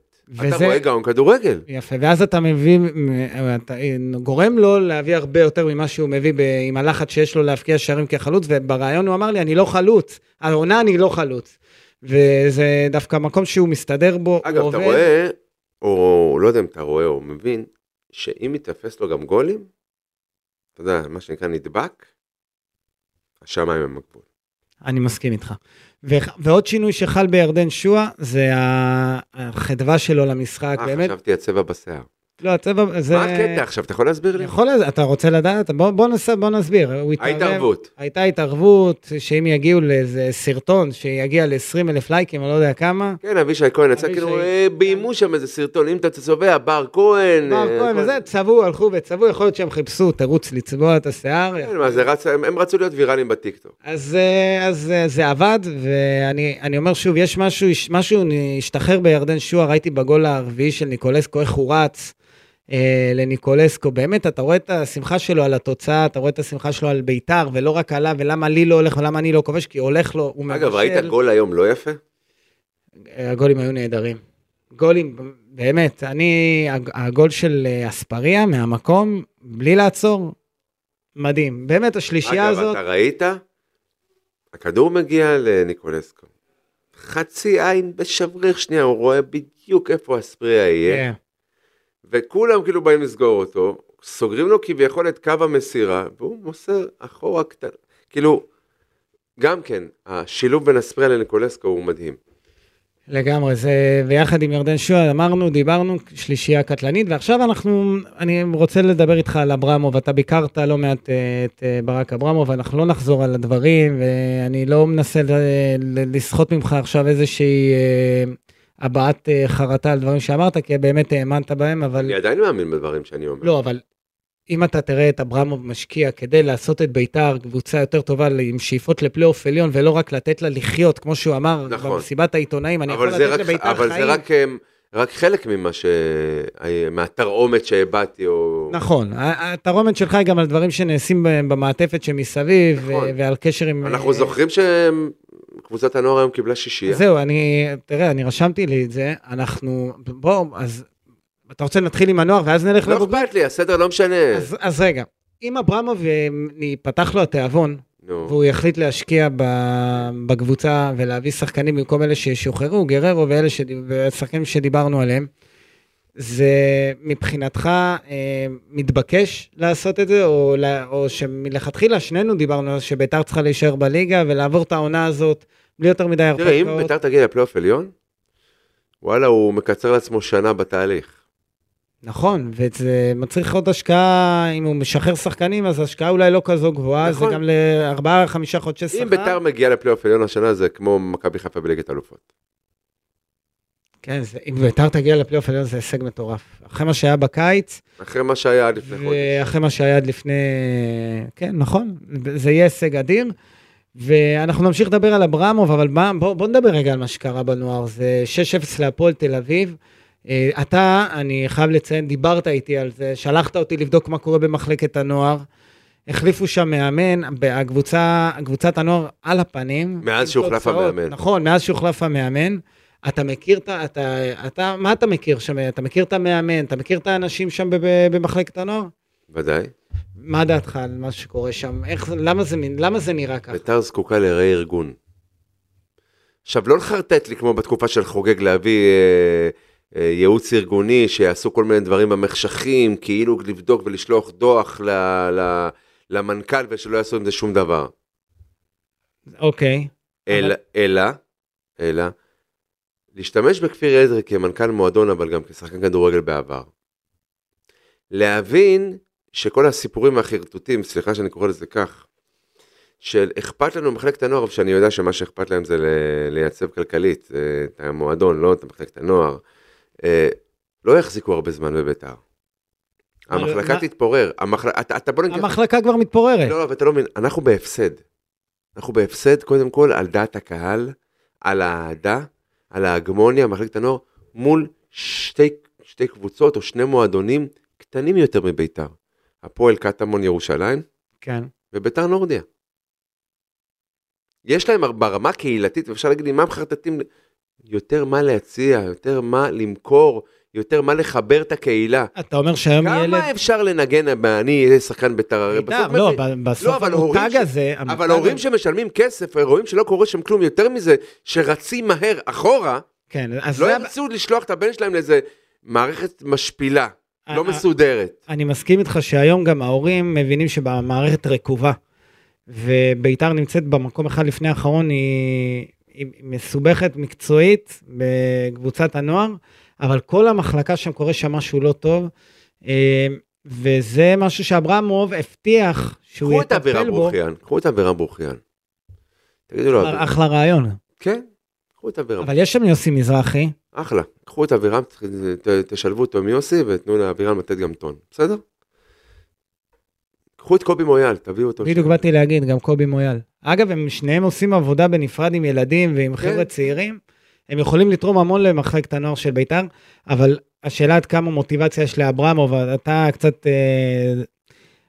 אתה
וזה-
רואה גאון כדורגל.
יפה, ואז אתה מביא, אתה גורם לו להביא הרבה יותר ממה שהוא מביא ב, עם הלחץ שיש לו להבקיע שערים כחלוץ, ובריאיון הוא אמר לי, אני לא חלוץ, העונה אני לא חלוץ. וזה דווקא מקום שהוא מסתדר בו,
אגב, אתה רואה, או לא יודע אם אתה רואה או מבין, שאם ייתפס לו גם גולים, אתה יודע, מה שנקרא נדבק, השמיים הם הגבול.
אני מסכים איתך. ו- ועוד שינוי שחל בירדן שועה, זה ה- החדווה שלו למשחק,
אה,
באמת.
חשבתי הצבע בשיער.
לא, הצבע, זה...
מה הקטע עכשיו, אתה יכול להסביר לי?
יכול, לזה- אתה רוצה לדעת? בוא, בוא, נס, בוא נסביר. הוא התערב-
ההתערבות.
הייתה התערבות, שאם יגיעו לאיזה סרטון שיגיע ל-20 אלף לייקים, אני לא יודע כמה,
כן, אבישי כהן יצא,
אבישי-
כאילו, אה, ביימו שם איזה סרטון, אם אתה צובע, בר כהן.
מר
אה,
כהן
כל-
וזה, צבעו, הלכו וצבעו, יכול להיות שהם חיפשו תירוץ לצבוע את השיער.
כן, מה זה רץ, הם הם רצו להיות ויראליים בטיקטוק.
אז, אה, אז אה, זה עבד, ואני אני אומר שוב, יש משהו, יש- משהו השתחרר בירדן שועה, ראיתי בגול הרביעי של ניקולסקו, איך הוא רץ אה, לניקולסקו. באמת, אתה רואה את השמחה שלו על התוצאה, אתה רואה את השמחה שלו על בית"ר, ולא רק עליו, ולמה לי לא הולך ולמה אני לא כובש, כי הולך לו, הוא מבשל.
אגב, ראית גול היום לא יפה?
הגולים היו נהדרים. גולים, באמת, אני, הג- הגול של אה, אספריה מהמקום, בלי לעצור, מדהים. באמת, השלישייה
אגב,
הזאת,
אתה ראית? הכדור מגיע לניקולסקו. חצי עין בשבריך שנייה, הוא רואה בדיוק איפה הספרי יהיה,
כן,
וכולם כאילו באים לסגור אותו, סוגרים לו כביכול את קו המסירה, והוא מוסר אחורה קטן. כאילו, גם כן, השילוב בין אספריה לניקולסקו הוא מדהים.
לגמרי, זה, ויחד עם ירדן שועה אמרנו, דיברנו, שלישייה קטלנית, ועכשיו אנחנו, אני רוצה לדבר איתך על אברמוב, אתה ביקרת לא מעט אה, את אה, ברק אברמוב, אנחנו לא נחזור על הדברים, ואני לא מנסה ל- ל- לסחוט ממך עכשיו איזושהי אה, הבעת אה, חרטה על דברים שאמרת, כי באמת האמנת בהם, אבל...
אני עדיין מאמין בדברים שאני אומר.
לא, אבל אם אתה תראה את אברמוב משקיע כדי לעשות את ביתר קבוצה יותר טובה ל- עם שאיפות לפלייאוף עליון, ולא רק לתת לה לחיות, כמו שהוא אמר
נכון.
במסיבת העיתונאים, אני יכול
אבל זה
לתת
רק,
לביתר
אבל
חיים.
זה רק, אמ, רק חלק ממה ש... מהתרעומת שהבעתי, או...
נכון, ה- התרעומת שלך היא גם על דברים שנעשים ב- במעטפת שמסביב,
נכון.
ו- ועל קשר עם... אה,
אנחנו זוכרים שקבוצת הנוער היום קיבלה שישייה.
זהו, אני, תראה, אני רשמתי לי את זה, אנחנו, בוא, אז אתה רוצה נתחיל עם הנוער ואז נלך
לא
לבוגרים?
אכפת לי, הסדר לא משנה.
אז, אז רגע, אם אברמוב אה, ייפתח לו התיאבון,
נו,
והוא יחליט להשקיע ב- בקבוצה ולהביא שחקנים במקום אלה ששוחררו, גררו ואלה שדיב- והשחקנים שדיברנו עליהם. זה מבחינתך אה, מתבקש לעשות את זה, או, לה- או שמלכתחילה שנינו דיברנו על זה שביתר צריכה להישאר בליגה ולעבור את העונה הזאת בלי יותר מדי
תראה, אם
הרפתקאות.
ביתר תגיע לפלייאוף עליון, וואלה, הוא מקצר לעצמו שנה בתהליך.
נכון, וזה מצריך עוד השקעה, אם הוא משחרר שחקנים, אז ההשקעה אולי לא כזו גבוהה,
נכון.
זה גם לארבעה, חמישה חודשי שכר.
אם ביתר מגיעה לפלייאוף עליון השנה, זה כמו מכבי חיפה בליגת אלופות.
כן, זה, אם ביתר תגיע לפלייאוף העליון זה הישג מטורף. אחרי מה שהיה בקיץ,
אחרי מה שהיה עד לפני חודש.
ואחרי מה שהיה עד לפני... כן, נכון, זה יהיה הישג אדיר. ואנחנו נמשיך לדבר על אברמוב, אבל מה, בוא, בוא נדבר רגע על מה שקרה בנוער. זה 6-0 להפועל תל אביב. אה, אתה, אני חייב לציין, דיברת איתי על זה, שלחת אותי לבדוק מה קורה במחלקת הנוער. החליפו שם מאמן, הקבוצה, קבוצת הנוער על הפנים.
מאז
עם
שהוחלף
תוצאות,
המאמן.
נכון, מאז שהוחלף המאמן. אתה מכיר את ה... אתה, אתה, מה אתה מכיר שם? אתה מכיר את המאמן? אתה מכיר את האנשים שם בב- במחלקת הנוער?
ודאי.
מה דעתך על מה שקורה שם? איך, זה- למה זה, מין- למה זה נראה ככה?
ביתר זקוקה לראי ארגון. עכשיו, לא לחרטט לי כמו בתקופה של חוגג להביא אה, אה, ייעוץ ארגוני, שיעשו כל מיני דברים במחשכים, כאילו לבדוק ולשלוח דוח ל, ל, למנכ"ל ושלא יעשו עם זה שום דבר.
אוקיי.
אלא, אלא, אלא, להשתמש בכפיר עזרא כמנכ"ל מועדון, אבל גם כשחקן כדורגל בעבר. להבין שכל הסיפורים והחרטוטים, סליחה שאני קורא לזה כך, של אכפת לנו ממחלקת הנוער, שאני יודע שמה שאכפת להם זה ל- לייצב כלכלית אה, את המועדון, לא את מחלקת הנוער, אה, לא יחזיקו הרבה זמן בביתר.
מה-
המחלקה
מה-
תתפורר, המחל... אתה, אתה בוא נגיד,
המחלקה כבר מתפוררת.
לא, לא, אבל אתה לא מבין, אנחנו בהפסד. אנחנו בהפסד קודם כל על דעת הקהל, על האהדה, על ההגמוניה, מחלקת הנוער, מול שתי, שתי קבוצות או שני מועדונים קטנים יותר מביתר. הפועל קטמון ירושלים
כן.
וביתר נורדיה. יש להם הר- ברמה הקהילתית, ואפשר להגיד לי, מה מחרטטים? יותר מה להציע, יותר מה למכור, יותר מה לחבר את הקהילה.
אתה אומר שהיום ילד...
כמה אפשר לנגן, אני אהיה שחקן ביתר, הרי
בית"ר,
בסוף
לא,
מבין-
ב-
לא,
בסוף
אבל הורים
המותג
ש-
הזה... המותג
אבל ההורים
הזה-
שמשלמים כסף, רואים שלא קורה שם כלום, יותר מזה, שרצים מהר אחורה,
כן, אז
לא
זה-
ירצו לשלוח את הבן שלהם לאיזה מערכת משפילה,
אה,
לא
אה,
מסודרת.
אני מסכים איתך שהיום גם ההורים מבינים שבמערכת רקובה, וביתר נמצאת במקום אחד לפני האחרון, היא, היא מסובכת מקצועית בקבוצת הנוער, אבל כל המחלקה שם קורה שם משהו לא טוב, אה, וזה משהו שאברמוב הבטיח שהוא
קחו את אבירם
יטפל בו.
ברוכיאן, קחו את אבירם ברוכיאן. תגידו לו, לא, אבירם.
אחלה רעיון,
כן, קחו את אבירם,
אבל יש שם יוסי מזרחי,
אחלה. קחו את אבירם, ת- ת- תשלבו אותו עם יוסי ותנו לאבירם לתת גם טון, בסדר? קחו את קובי מויאל, תביאו אותו.
בדיוק
שם.
באתי להגיד, גם קובי מויאל. אגב, הם שניהם עושים עבודה בנפרד עם ילדים ועם
כן.
חבר'ה צעירים. הם יכולים לתרום המון למחלקת הנוער של בית"ר, אבל השאלה עד כמה מוטיבציה יש לאברמוב, אתה קצת אה,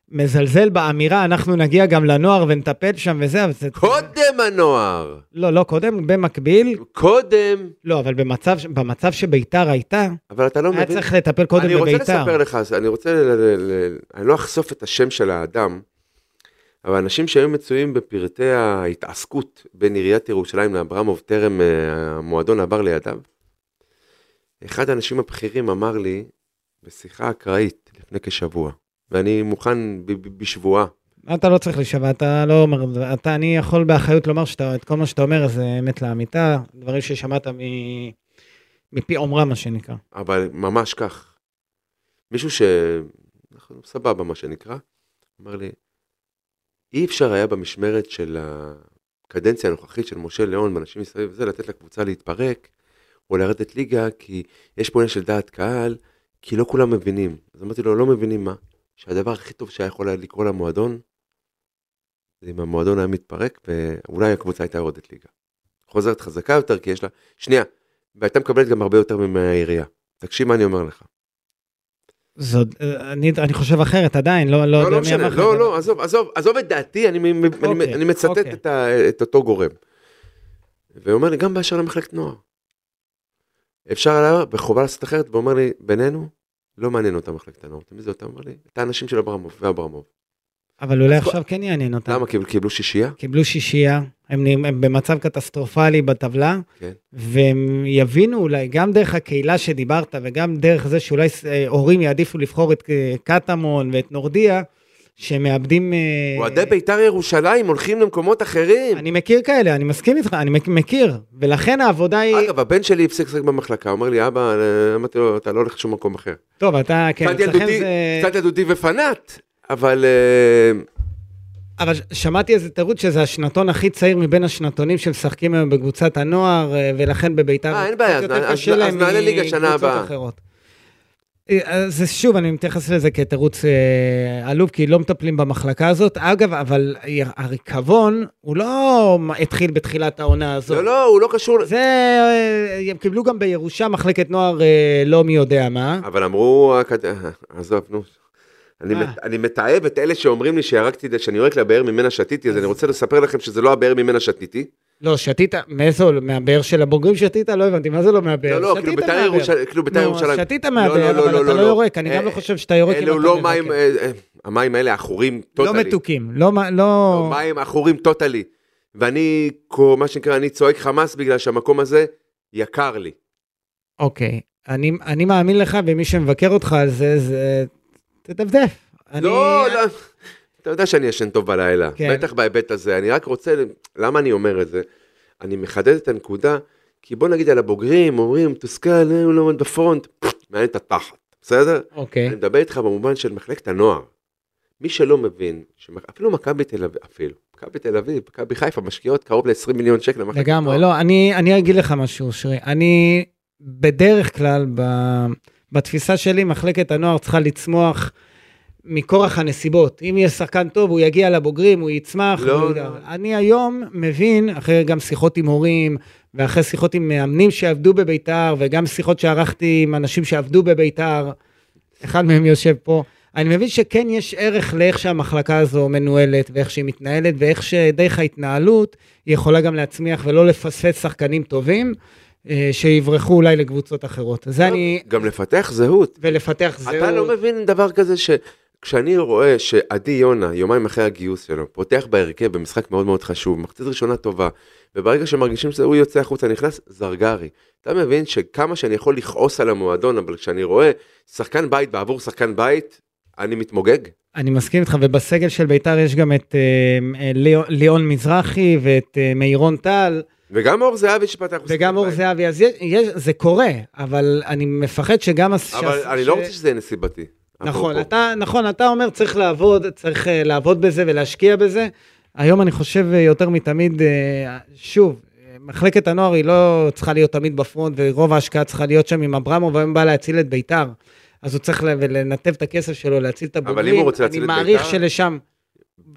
מזלזל באמירה, אנחנו נגיע גם לנוער ונטפל שם וזה, אבל זה...
קודם הנוער,
לא, לא קודם, במקביל,
קודם,
לא, אבל במצב, ש- במצב שבית"ר הייתה,
אבל אתה לא
היה
מבין.
צריך לטפל קודם בבית"ר.
אני רוצה לספר לך, אני רוצה, ל- ל- ל- אני לא אחשוף את השם של האדם, אבל אנשים שהיו מצויים בפרטי ההתעסקות בין עיריית ירושלים לאברמוב טרם אה, המועדון עבר לידיו, אחד האנשים הבכירים אמר לי, בשיחה אקראית לפני כשבוע, ואני מוכן ב- ב- בשבועה.
אתה לא צריך להישבע, אתה לא אומר, אתה, אני יכול באחריות לומר שאתה, את כל מה שאתה אומר זה אמת לאמיתה, דברים ששמעת מ... מפי אומרה, מה שנקרא.
אבל ממש כך. מישהו ש... אנחנו סבבה, מה שנקרא, אמר לי, אי אפשר היה במשמרת של הקדנציה הנוכחית של משה ליאון, ואנשים מסביב וזה, לתת לקבוצה להתפרק, או לרדת ליגה, כי יש פה עניין של דעת קהל, כי לא כולם מבינים. אז אמרתי לו, לא מבינים מה? שהדבר הכי טוב שהיה יכול היה לקרות למועדון, זה אם המועדון היה מתפרק, ואולי הקבוצה הייתה יורדת ליגה. חוזרת חזקה יותר, כי יש לה... שנייה, והייתה מקבלת גם הרבה יותר מהעירייה. תקשיב מה אני אומר לך.
זאת, אני, אני חושב אחרת עדיין, לא, לא,
לא,
יודע
לא
מי
משנה,
אמר לך.
לא, לא, עזוב, עזוב, עזוב את דעתי, אני, מ- מ-
אוקיי,
אני, אני מצטט
אוקיי.
את, ה, את אותו גורם. ואומר לי, גם באשר למחלקת נוער. אפשר היה וחובה לעשות אחרת, ואומר לי, בינינו, לא מעניין אותה מחלקת הנוער. אתה מבין זה אותם, אומר לי, את האנשים של אברמוב ואברמוב.
אבל אולי
אז כל-
עכשיו כן יעניין אותם.
למה? כי הם קיבלו שישייה?
קיבלו שישייה, הם, נ- הם במצב קטסטרופלי בטבלה,
כן.
והם יבינו אולי, גם דרך הקהילה שדיברת, וגם דרך זה שאולי אה, הורים יעדיפו לבחור את אה, קטמון ואת נורדיה, שמאבדים... אה,
אוהדי בית"ר ירושלים הולכים למקומות אחרים.
אני מכיר כאלה, אני מסכים איתך, אני מק- מכיר, ולכן העבודה היא...
אגב, הבן שלי הפסיק לשחק במחלקה, אומר לי, אבא, אה, אמרתי לו, אתה לא הולך לשום מקום אחר.
טוב, אתה, כן,
קצת
אצלכם
ילדותי-
זה...
קצת ילדותי ופנאט, אבל... אה,
אבל ש- שמעתי איזה תירוץ שזה השנתון הכי צעיר מבין השנתונים שמשחקים היום בקבוצת הנוער, אה, ולכן בביתר...
אה, אין בעיה,
קצת
אז-
יותר
אז-
קשה
אז
להם
נעלה ליגה שנה
מקבוצות
הבאה.
אחרות. אה, אז זה- שוב, אני מתייחס לזה כתירוץ אה, עלוב, כי לא מטפלים במחלקה הזאת. אגב, אבל ה- הריקבון, הוא לא התחיל בתחילת העונה הזאת.
לא, לא, הוא לא קשור...
זה, אה, הם קיבלו גם בירושה מחלקת נוער אה, לא מי יודע מה.
אבל אמרו, הקד- אה, עזוב, נו. אני,
מה?
מת, אני מתעב את אלה שאומרים לי שהרגתי, את- שאני יורק לבאר ממנה שתיתי, אז
אז-
אני רוצה לספר לכם שזה לא הבאר ממנה שתיתי.
לא, שתית, מאיזו, מהבאר של הבוגרים שתית? לא הבנתי, מה זה לא מהבאר?
לא, לא,
שתית
כאילו בית"ר
מהבאר.
ירושלים, כאילו בית"ר
נו,
ירושלים.
שתית
לא,
מהבאר,
לא, לא,
אבל
לא,
אתה לא
לא.
יורק, אני
אה,
גם לא חושב שאתה יורק אם
אלו
אתה
לא
מבקר.
מים, אה, אה, המים האלה עכורים
לא
טוטלי.
מתוקים, לא... מה- לא-
מים עכורים טוטלי. ואני, כמו- מה שנקרא, אני צועק חמאס בגלל שהמקום הזה יקר לי.
אוקיי, אני- אני מאמין לך, ומי שמבקר אותך על זה, זה... תדפדף. אני-
לא, לא. אתה יודע שאני ישן טוב בלילה,
כן.
בטח בהיבט הזה. אני רק רוצה, למה אני אומר את זה? אני מחדד את הנקודה, כי בוא נגיד על הבוגרים, אומרים, תוסכל, אה, הוא לא עומד בפרונט, [sniffs] מעניין את התחת, בסדר?
אוקיי,
אני מדבר איתך במובן של מחלקת הנוער. מי שלא מבין, שמכ- אפילו מכבי תל אביב, אפילו, מכבי תל אביב, מכבי חיפה משקיעות קרוב ל-20 מיליון שקל למחלקת
לגמרי. לא, אני אני אגיד לך משהו, שרי. אני בדרך כלל, ב- בתפיסה שלי, מחלקת הנוער צריכה לצמוח. מכורח הנסיבות, אם יהיה שחקן טוב, הוא יגיע לבוגרים, הוא יצמח.
לא,
הוא ידע.
לא.
אני היום מבין, אחרי גם שיחות עם הורים, ואחרי שיחות עם מאמנים שעבדו בביתר, וגם שיחות שערכתי עם אנשים שעבדו בביתר, אחד מהם יושב פה, אני מבין שכן יש ערך לאיך שהמחלקה הזו מנוהלת, ואיך שהיא מתנהלת, ואיך שדרך ההתנהלות היא יכולה גם להצמיח ולא לפספס שחקנים טובים, אה, שיברחו אולי לקבוצות אחרות. זה אני...
גם לפתח זהות.
ולפתח זהות.
אתה לא מבין דבר כזה שכשאני רואה שעדי יונה, יומיים אחרי הגיוס שלו, פותח בהרכב במשחק מאוד מאוד חשוב, מחצית ראשונה טובה, וברגע שמרגישים שהוא יוצא החוצה, נכנס זרגרי. אתה מבין שכמה שאני יכול לכעוס על המועדון, אבל כשאני רואה שחקן בית בעבור שחקן בית, אני מתמוגג.
אני מסכים איתך, ובסגל של ביתר יש גם את אה, אה, ליאו- ליאון מזרחי ואת אה, מאירון טל,
וגם אור זהבי שפתח. הוא שחקן
וגם אור
בית.
זהבי, אז יש, יש, זה קורה, אבל אני מפחד שגם... הס-
אבל
שה-
אני
ש-
לא רוצה שזה יהיה נסיבתי.
נכון,
אפרופו.
אתה, נכון, אתה אומר צריך לעבוד, צריך אה, לעבוד בזה ולהשקיע בזה. היום אני חושב אה, יותר מתמיד, אה, שוב, אה, מחלקת הנוער היא לא צריכה להיות תמיד בפרונט, ורוב ההשקעה צריכה להיות שם עם אברמוב, והיום בא להציל את ביתר. אז הוא צריך ל- לנתב את הכסף שלו, להציל את הבוגרים.
אם הוא רוצה להציל את
אני מעריך
ביתר-
שלשם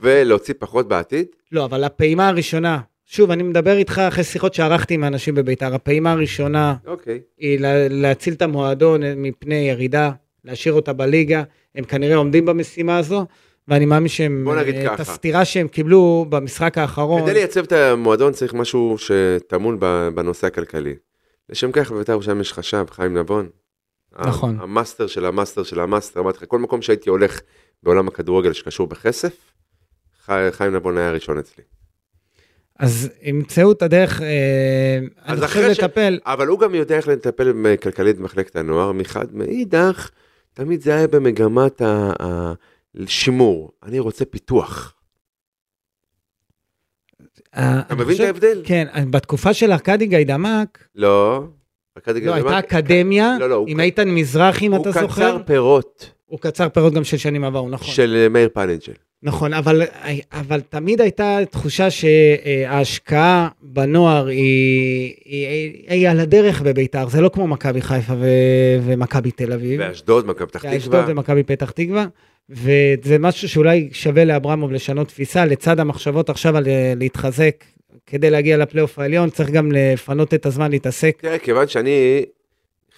ולהוציא פחות בעתיד,
לא, אבל הפעימה הראשונה, שוב, אני מדבר איתך אחרי שיחות שערכתי עם האנשים בביתר, הפעימה הראשונה
אוקיי.
היא לה, להציל את המועדון אה, מפני ירידה, להשאיר אותה בליגה, הם כנראה עומדים במשימה הזו, ואני מאמין שהם,
בוא נגיד
אה, את
ככה.
הסתירה שהם קיבלו במשחק האחרון,
כדי לייצב את המועדון צריך משהו שטמון ב- בנושא הכלכלי. לשם כך בבית"ר ירושלים יש חשב, חיים נבון. ה-
נכון.
המאסטר של המאסטר של המאסטר, אמרתי לך, כל מקום שהייתי הולך בעולם הכדורגל שקשור בכסף, ח- חיים נבון היה הראשון אצלי.
אז ימצאו את הדרך, אה, אני
אז
חושב
אחרי ש-
לטפל,
אבל הוא גם יודע איך לטפל ב- כלכלית במחלקת הנוער, מחד מאידך, תמיד זה היה במגמת ה... ה... לשימור, אני רוצה פיתוח.
אה,
אתה
אני
מבין את
חושב-
ההבדל?
כן, אז בתקופה של ארכדי גיידמק,
לא. ארכדי
לא,
גלבמן-
הייתה אקדמיה,
לא, לא, הוא
עם
ק-
איתן מזרחי, אם
הוא
אתה זוכר.
קצר פירות
הוא קצר פירות גם של שנים עברו, נכון.
של אה, מאיר פנג'ל.
נכון, אבל, אבל תמיד הייתה תחושה שההשקעה בנוער היא, היא, היא על הדרך בביתר, זה לא כמו מכבי חיפה ו, ומכבי תל אביב.
באשדוד, מכבי פתח
ואשדוד
תקווה.
ומכבי פתח תקווה, וזה משהו שאולי שווה לאברמוב לשנות תפיסה, לצד המחשבות עכשיו על אה, להתחזק כדי להגיע לפלייאוף העליון, צריך גם לפנות את הזמן להתעסק.
תראה, כן, כיוון שאני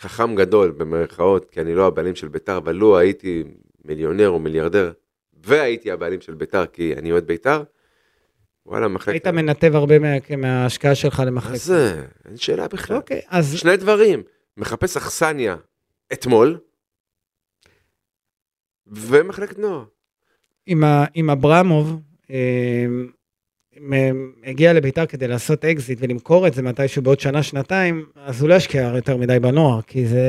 חכם גדול, במרכאות, כי אני לא הבעלים של ביתר, אבל לו הייתי מיליונר או מיליארדר, והייתי הבעלים של ביתר, כי אני אוהד ביתר, וואלה, מחלקת...
היית מנתב הרבה מה, מההשקעה שלך
מה
למחלקת.
זה? אין שאלה בכלל.
אוקיי, אז
שני דברים, מחפש אכסניה אתמול, ומחלקת נוער.
עם, ה, עם אברמוב, אה, מ- הגיע לביתר כדי לעשות אקזיט ולמכור את זה מתישהו בעוד שנה, שנתיים, אז הוא לא ישקיע יותר מדי בנוער, כי זה...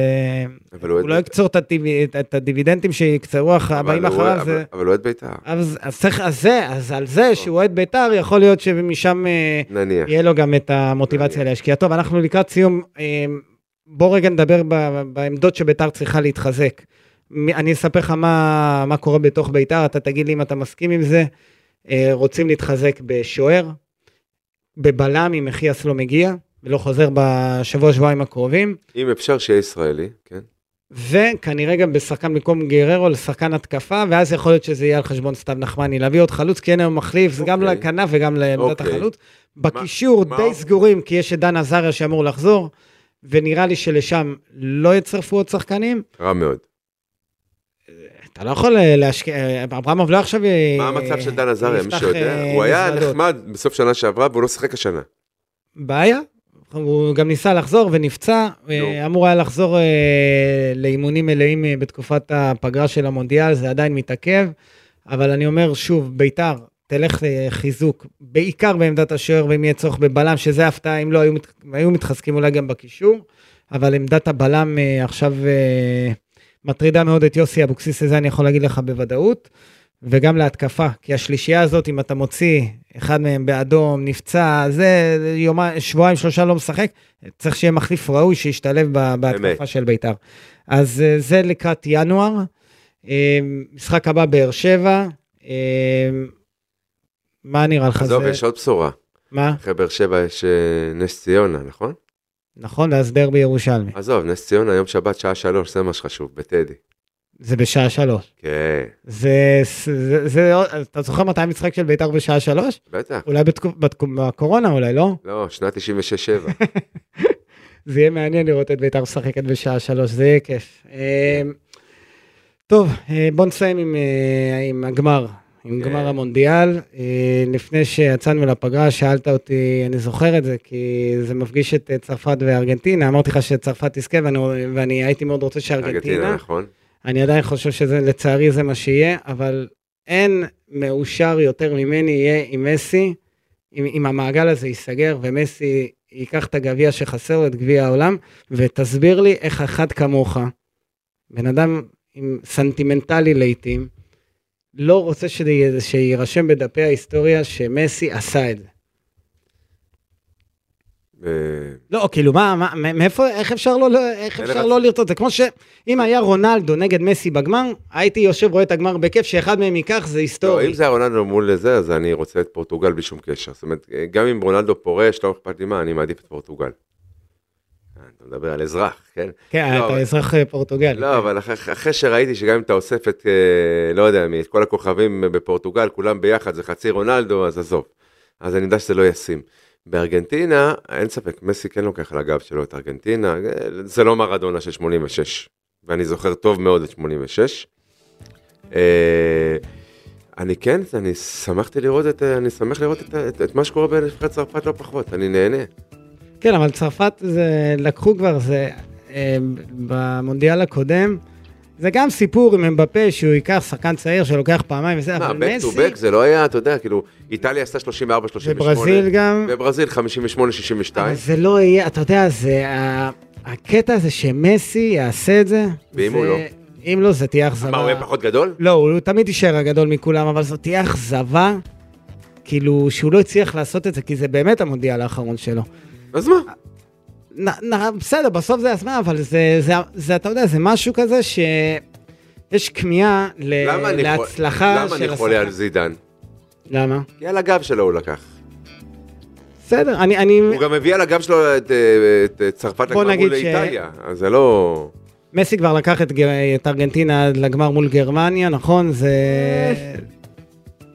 אבל הוא
הוא לא
אוהד
יקצור את הדיו- את- את הדיבידנדים שיקצרו אח-
אבל
הבאים
הוא-
אחריו.
אבל-
זה-
אבל הוא אוהד ביתר,
אז, אז צריך, אז זה, אז על זה שהוא אוהד בית"ר, יכול להיות שמשם אה,
נניח.
יהיה לו גם את המוטיבציה להשקיע. טוב, אנחנו לקראת סיום, אה, בוא רגע נדבר ב, בעמדות שבית"ר צריכה להתחזק. מ- אני אספר לך מה, מה קורה בתוך בית"ר, אתה תגיד לי אם אתה מסכים עם זה. אה, רוצים להתחזק בשוער, בבלם אם יחייס לא מגיע, ולא חוזר בשבוע-שבועיים הקרובים.
אם אפשר שיהיה ישראלי, כן?
וכנראה גם בשחקן במקום גררו לשחקן התקפה, ואז יכול להיות שזה יהיה על חשבון סתיו נחמני, להביא עוד חלוץ, כי אין היום מחליף, זה גם
אוקיי.
לכנף וגם לעמדת
אוקיי.
החלוץ. בקישור
מה-
די סגורים, כי יש את דן עזריה שאמור לחזור, ונראה לי שלשם לא יצרפו עוד שחקנים.
רע מאוד.
אתה לא יכול אה, להשקיע, אה, אברמוב לא עכשיו... אה,
מה המצב של דן עזריה, מי
יפתח,
שיודע?
אה,
הוא היה
מזוודות.
נחמד בסוף שנה שעברה והוא לא שיחק השנה.
בעיה. הוא גם ניסה לחזור ונפצע,
נו.
no. אמור היה לחזור אה, לאימונים מלאים אה, בתקופת הפגרה של המונדיאל, זה עדיין מתעכב, אבל אני אומר שוב, ביתר, תלך לחיזוק, בעיקר בעמדת השוער, ואם יהיה צורך בבלם, שזה הפתעה, אם לא, היו, מת, היו מתחזקים אולי גם בקישור, אבל עמדת הבלם אה, עכשיו אה, מטרידה מאוד את יוסי אבוקסיס, את זה אני יכול להגיד לך בוודאות. וגם להתקפה, כי השלישייה הזאת, אם אתה מוציא אחד מהם באדום, נפצע, זה יומיים, שבועיים, שלושה לא משחק, צריך שיהיה מחליף ראוי שישתלב ב- בהתקפה
אמת.
של בית"ר. אז אה, זה לקראת ינואר. אה, משחק הבא, באר שבע. אה, מה נראה לך?
עזוב,
זה-
יש עוד בשורה.
מה?
אחרי באר שבע יש אה, נס ציונה, נכון?
נכון, ואז דרבי ירושלמי.
עזוב, נס ציונה, יום שבת, שעה שלוש, זה מה שחשוב, בטדי.
זה בשעה שלוש.
כן,
זה, זה, זה, אתה זוכר מתי המשחק של בית"ר בשעה שלוש?
בטח.
אולי בתקופ, בתקופ, בקורונה אולי, לא?
לא,
[laughs]
שנת 96-7.
זה יהיה מעניין לראות את בית"ר משחקת בשעה שלוש, זה יהיה כיף. אה, טוב, אה, בוא נסיים עם, אה, עם הגמר, עם
כן.
גמר המונדיאל. אה, לפני שיצאנו לפגרה, שאלת אותי, אני זוכר את זה, כי זה מפגיש את אה, צרפת וארגנטינה, אמרתי לך שצרפת תזכה, ואני, ואני הייתי מאוד רוצה שארגנטינה,
ארגנטינה, נכון?
אני עדיין חושב שזה, לצערי זה מה שיהיה, אבל אין מאושר יותר ממני יהיה עם מסי, אם, אם המעגל הזה ייסגר ומסי ייקח את הגביע שחסר לו, את גביע העולם, ותסביר לי איך אחד כמוך, בן אדם עם סנטימנטלי לעיתים, לא רוצה שזה יהיה- שיירשם בדפי ההיסטוריה שמסי עשה את זה.
אה,
לא, כאילו, מה, מה, מאיפה, איך אפשר לא, לא- איך
אין
אפשר
לך-
לא לרצות? זה כמו שאם היה רונלדו נגד מסי בגמר, הייתי יושב רואה את הגמר בכיף, שאחד מהם ייקח, זה
לא,
היסטורי.
אם זה היה רונלדו מול זה, אז אני רוצה את פורטוגל בלי שום קשר. זאת אומרת, אה, גם אם רונלדו פורש, לא אכפת לי מה, אני מעדיף את פורטוגל. אה, אתה מדבר על אזרח, כן?
כן,
לא,
אתה
אבל-
אזרח אה, פורטוגל.
לא, אבל אחרי, אחרי שראיתי שגם אם אתה אוסף את, אה, לא יודע מי, את כל הכוכבים אה, בפורטוגל, כולם ביחד, זה חצי רונלדו, אז עזוב. אז אני יודע שזה לא ישים. בארגנטינה, אין ספק, מסי כן לוקח על הגב שלו את ארגנטינה, אה, זה לא מרדונה של 86, ואני זוכר טוב מאוד את 86. אה, אני כן, אני שמחתי לראות את, אה, אני שמח לראות את, ה- את, את מה שקורה בנבחרת צרפת לא פחות, אני נהנה.
כן, אבל צרפת, זה, לקחו כבר, זה אה, במונדיאל הקודם, זה גם סיפור עם אמבפה שהוא ייקח שחקן צעיר שלוקח פעמיים וזה,
מה,
אבל
back to
מסי
back זה לא היה, אתה יודע, כאילו, איטליה עשתה 34, 38.
וברזיל גם,
בברזיל
אבל
58-62,
זה לא יהיה, אתה יודע, זה ה- הקטע הזה שמסי יעשה את זה.
ואם
זה-
הוא לא?
אם לא, זה תהיה אכזבה.
מה, הוא יהיה פחות גדול?
לא, הוא תמיד יישאר הגדול מכולם, אבל זאת תהיה אכזבה, כאילו, שהוא לא הצליח לעשות את זה, כי זה באמת המונדיאל האחרון שלו.
אז מה?
נ, נ, בסדר, בסוף זה הזמן, אבל זה, זה, זה, אתה יודע, זה משהו כזה ש... יש כמיהה ל-
למה אני חו-
אה, להצלחה של
למה אני חולה על
השחקן.
זידן?
למה?
כי על הגב שלו הוא לקח.
בסדר, אני... אני...
הוא גם הביא על הגב שלו את, אה, את אה, צרפת
בוא
לגמר
נגיד
מול
ש-
איטליה, אז זה לא...
מסי כבר לקח את, גר- את ארגנטינה עד לגמר מול גרמניה, נכון? זה...
אה.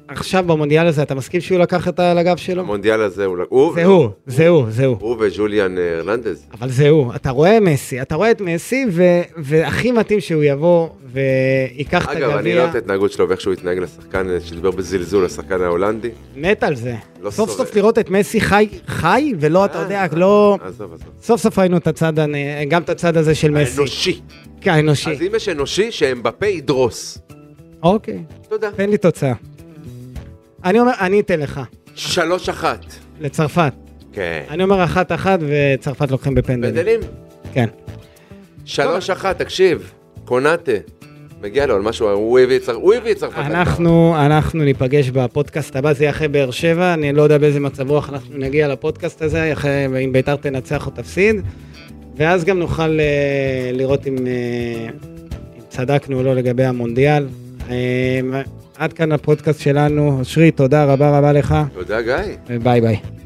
עכשיו במונדיאל הזה, אתה מסכים שהוא לקח את ה- על הגב שלו?
המונדיאל הזה הוא... לק- הוא
לא. זה הוא, זה הוא, זה הוא.
הוא וג'וליאן אה, הרננדז.
אבל זה הוא, אתה רואה מסי, אתה רואה את מסי, ו- והכי מתאים שהוא יבוא וייקח את
אגב, אני לא
הגביע,
אוהב את ההתנהגות שלו ואיך שהוא התנהג לשחקן, אה, שדיבר בזלזול לשחקן ההולנדי.
מת על זה.
לא
סוף
שורד.
סוף לראות את מסי חי, חי, ולא, אתה
אה,
יודע, לא...
עזוב, עזוב.
סוף סוף ראינו את הצד, הנ- גם את הצד הזה של מסי.
האנושי.
כן, האנושי.
אז אם יש אנושי, שאמבפה ידרוס.
אוקיי,
תודה.
תן לי תוצאה. אני אומר, אני אתן לך,
שלוש אחת.
לצרפת.
כן.
אני אומר אחת אחת וצרפת לוקחים בפנדלים.
בדלים?
כן.
שלוש אחת, תקשיב. קונאטה. מגיע לו על משהו, הוא הביא את צר- הוא הביא את צרפת.
אנחנו, אנחנו ניפגש בפודקאסט הבא, זה יהיה אחרי באר שבע, אני לא יודע באיזה מצב רוח אנחנו נגיע לפודקאסט הזה, אחרי, אם ביתר תנצח או תפסיד, ואז גם נוכל אה, לראות אם, אה, אם צדקנו או לא לגבי המונדיאל. אה, עד כאן הפודקאסט שלנו, אושרי, תודה רבה רבה לך,
תודה, גיא.
וביי ביי.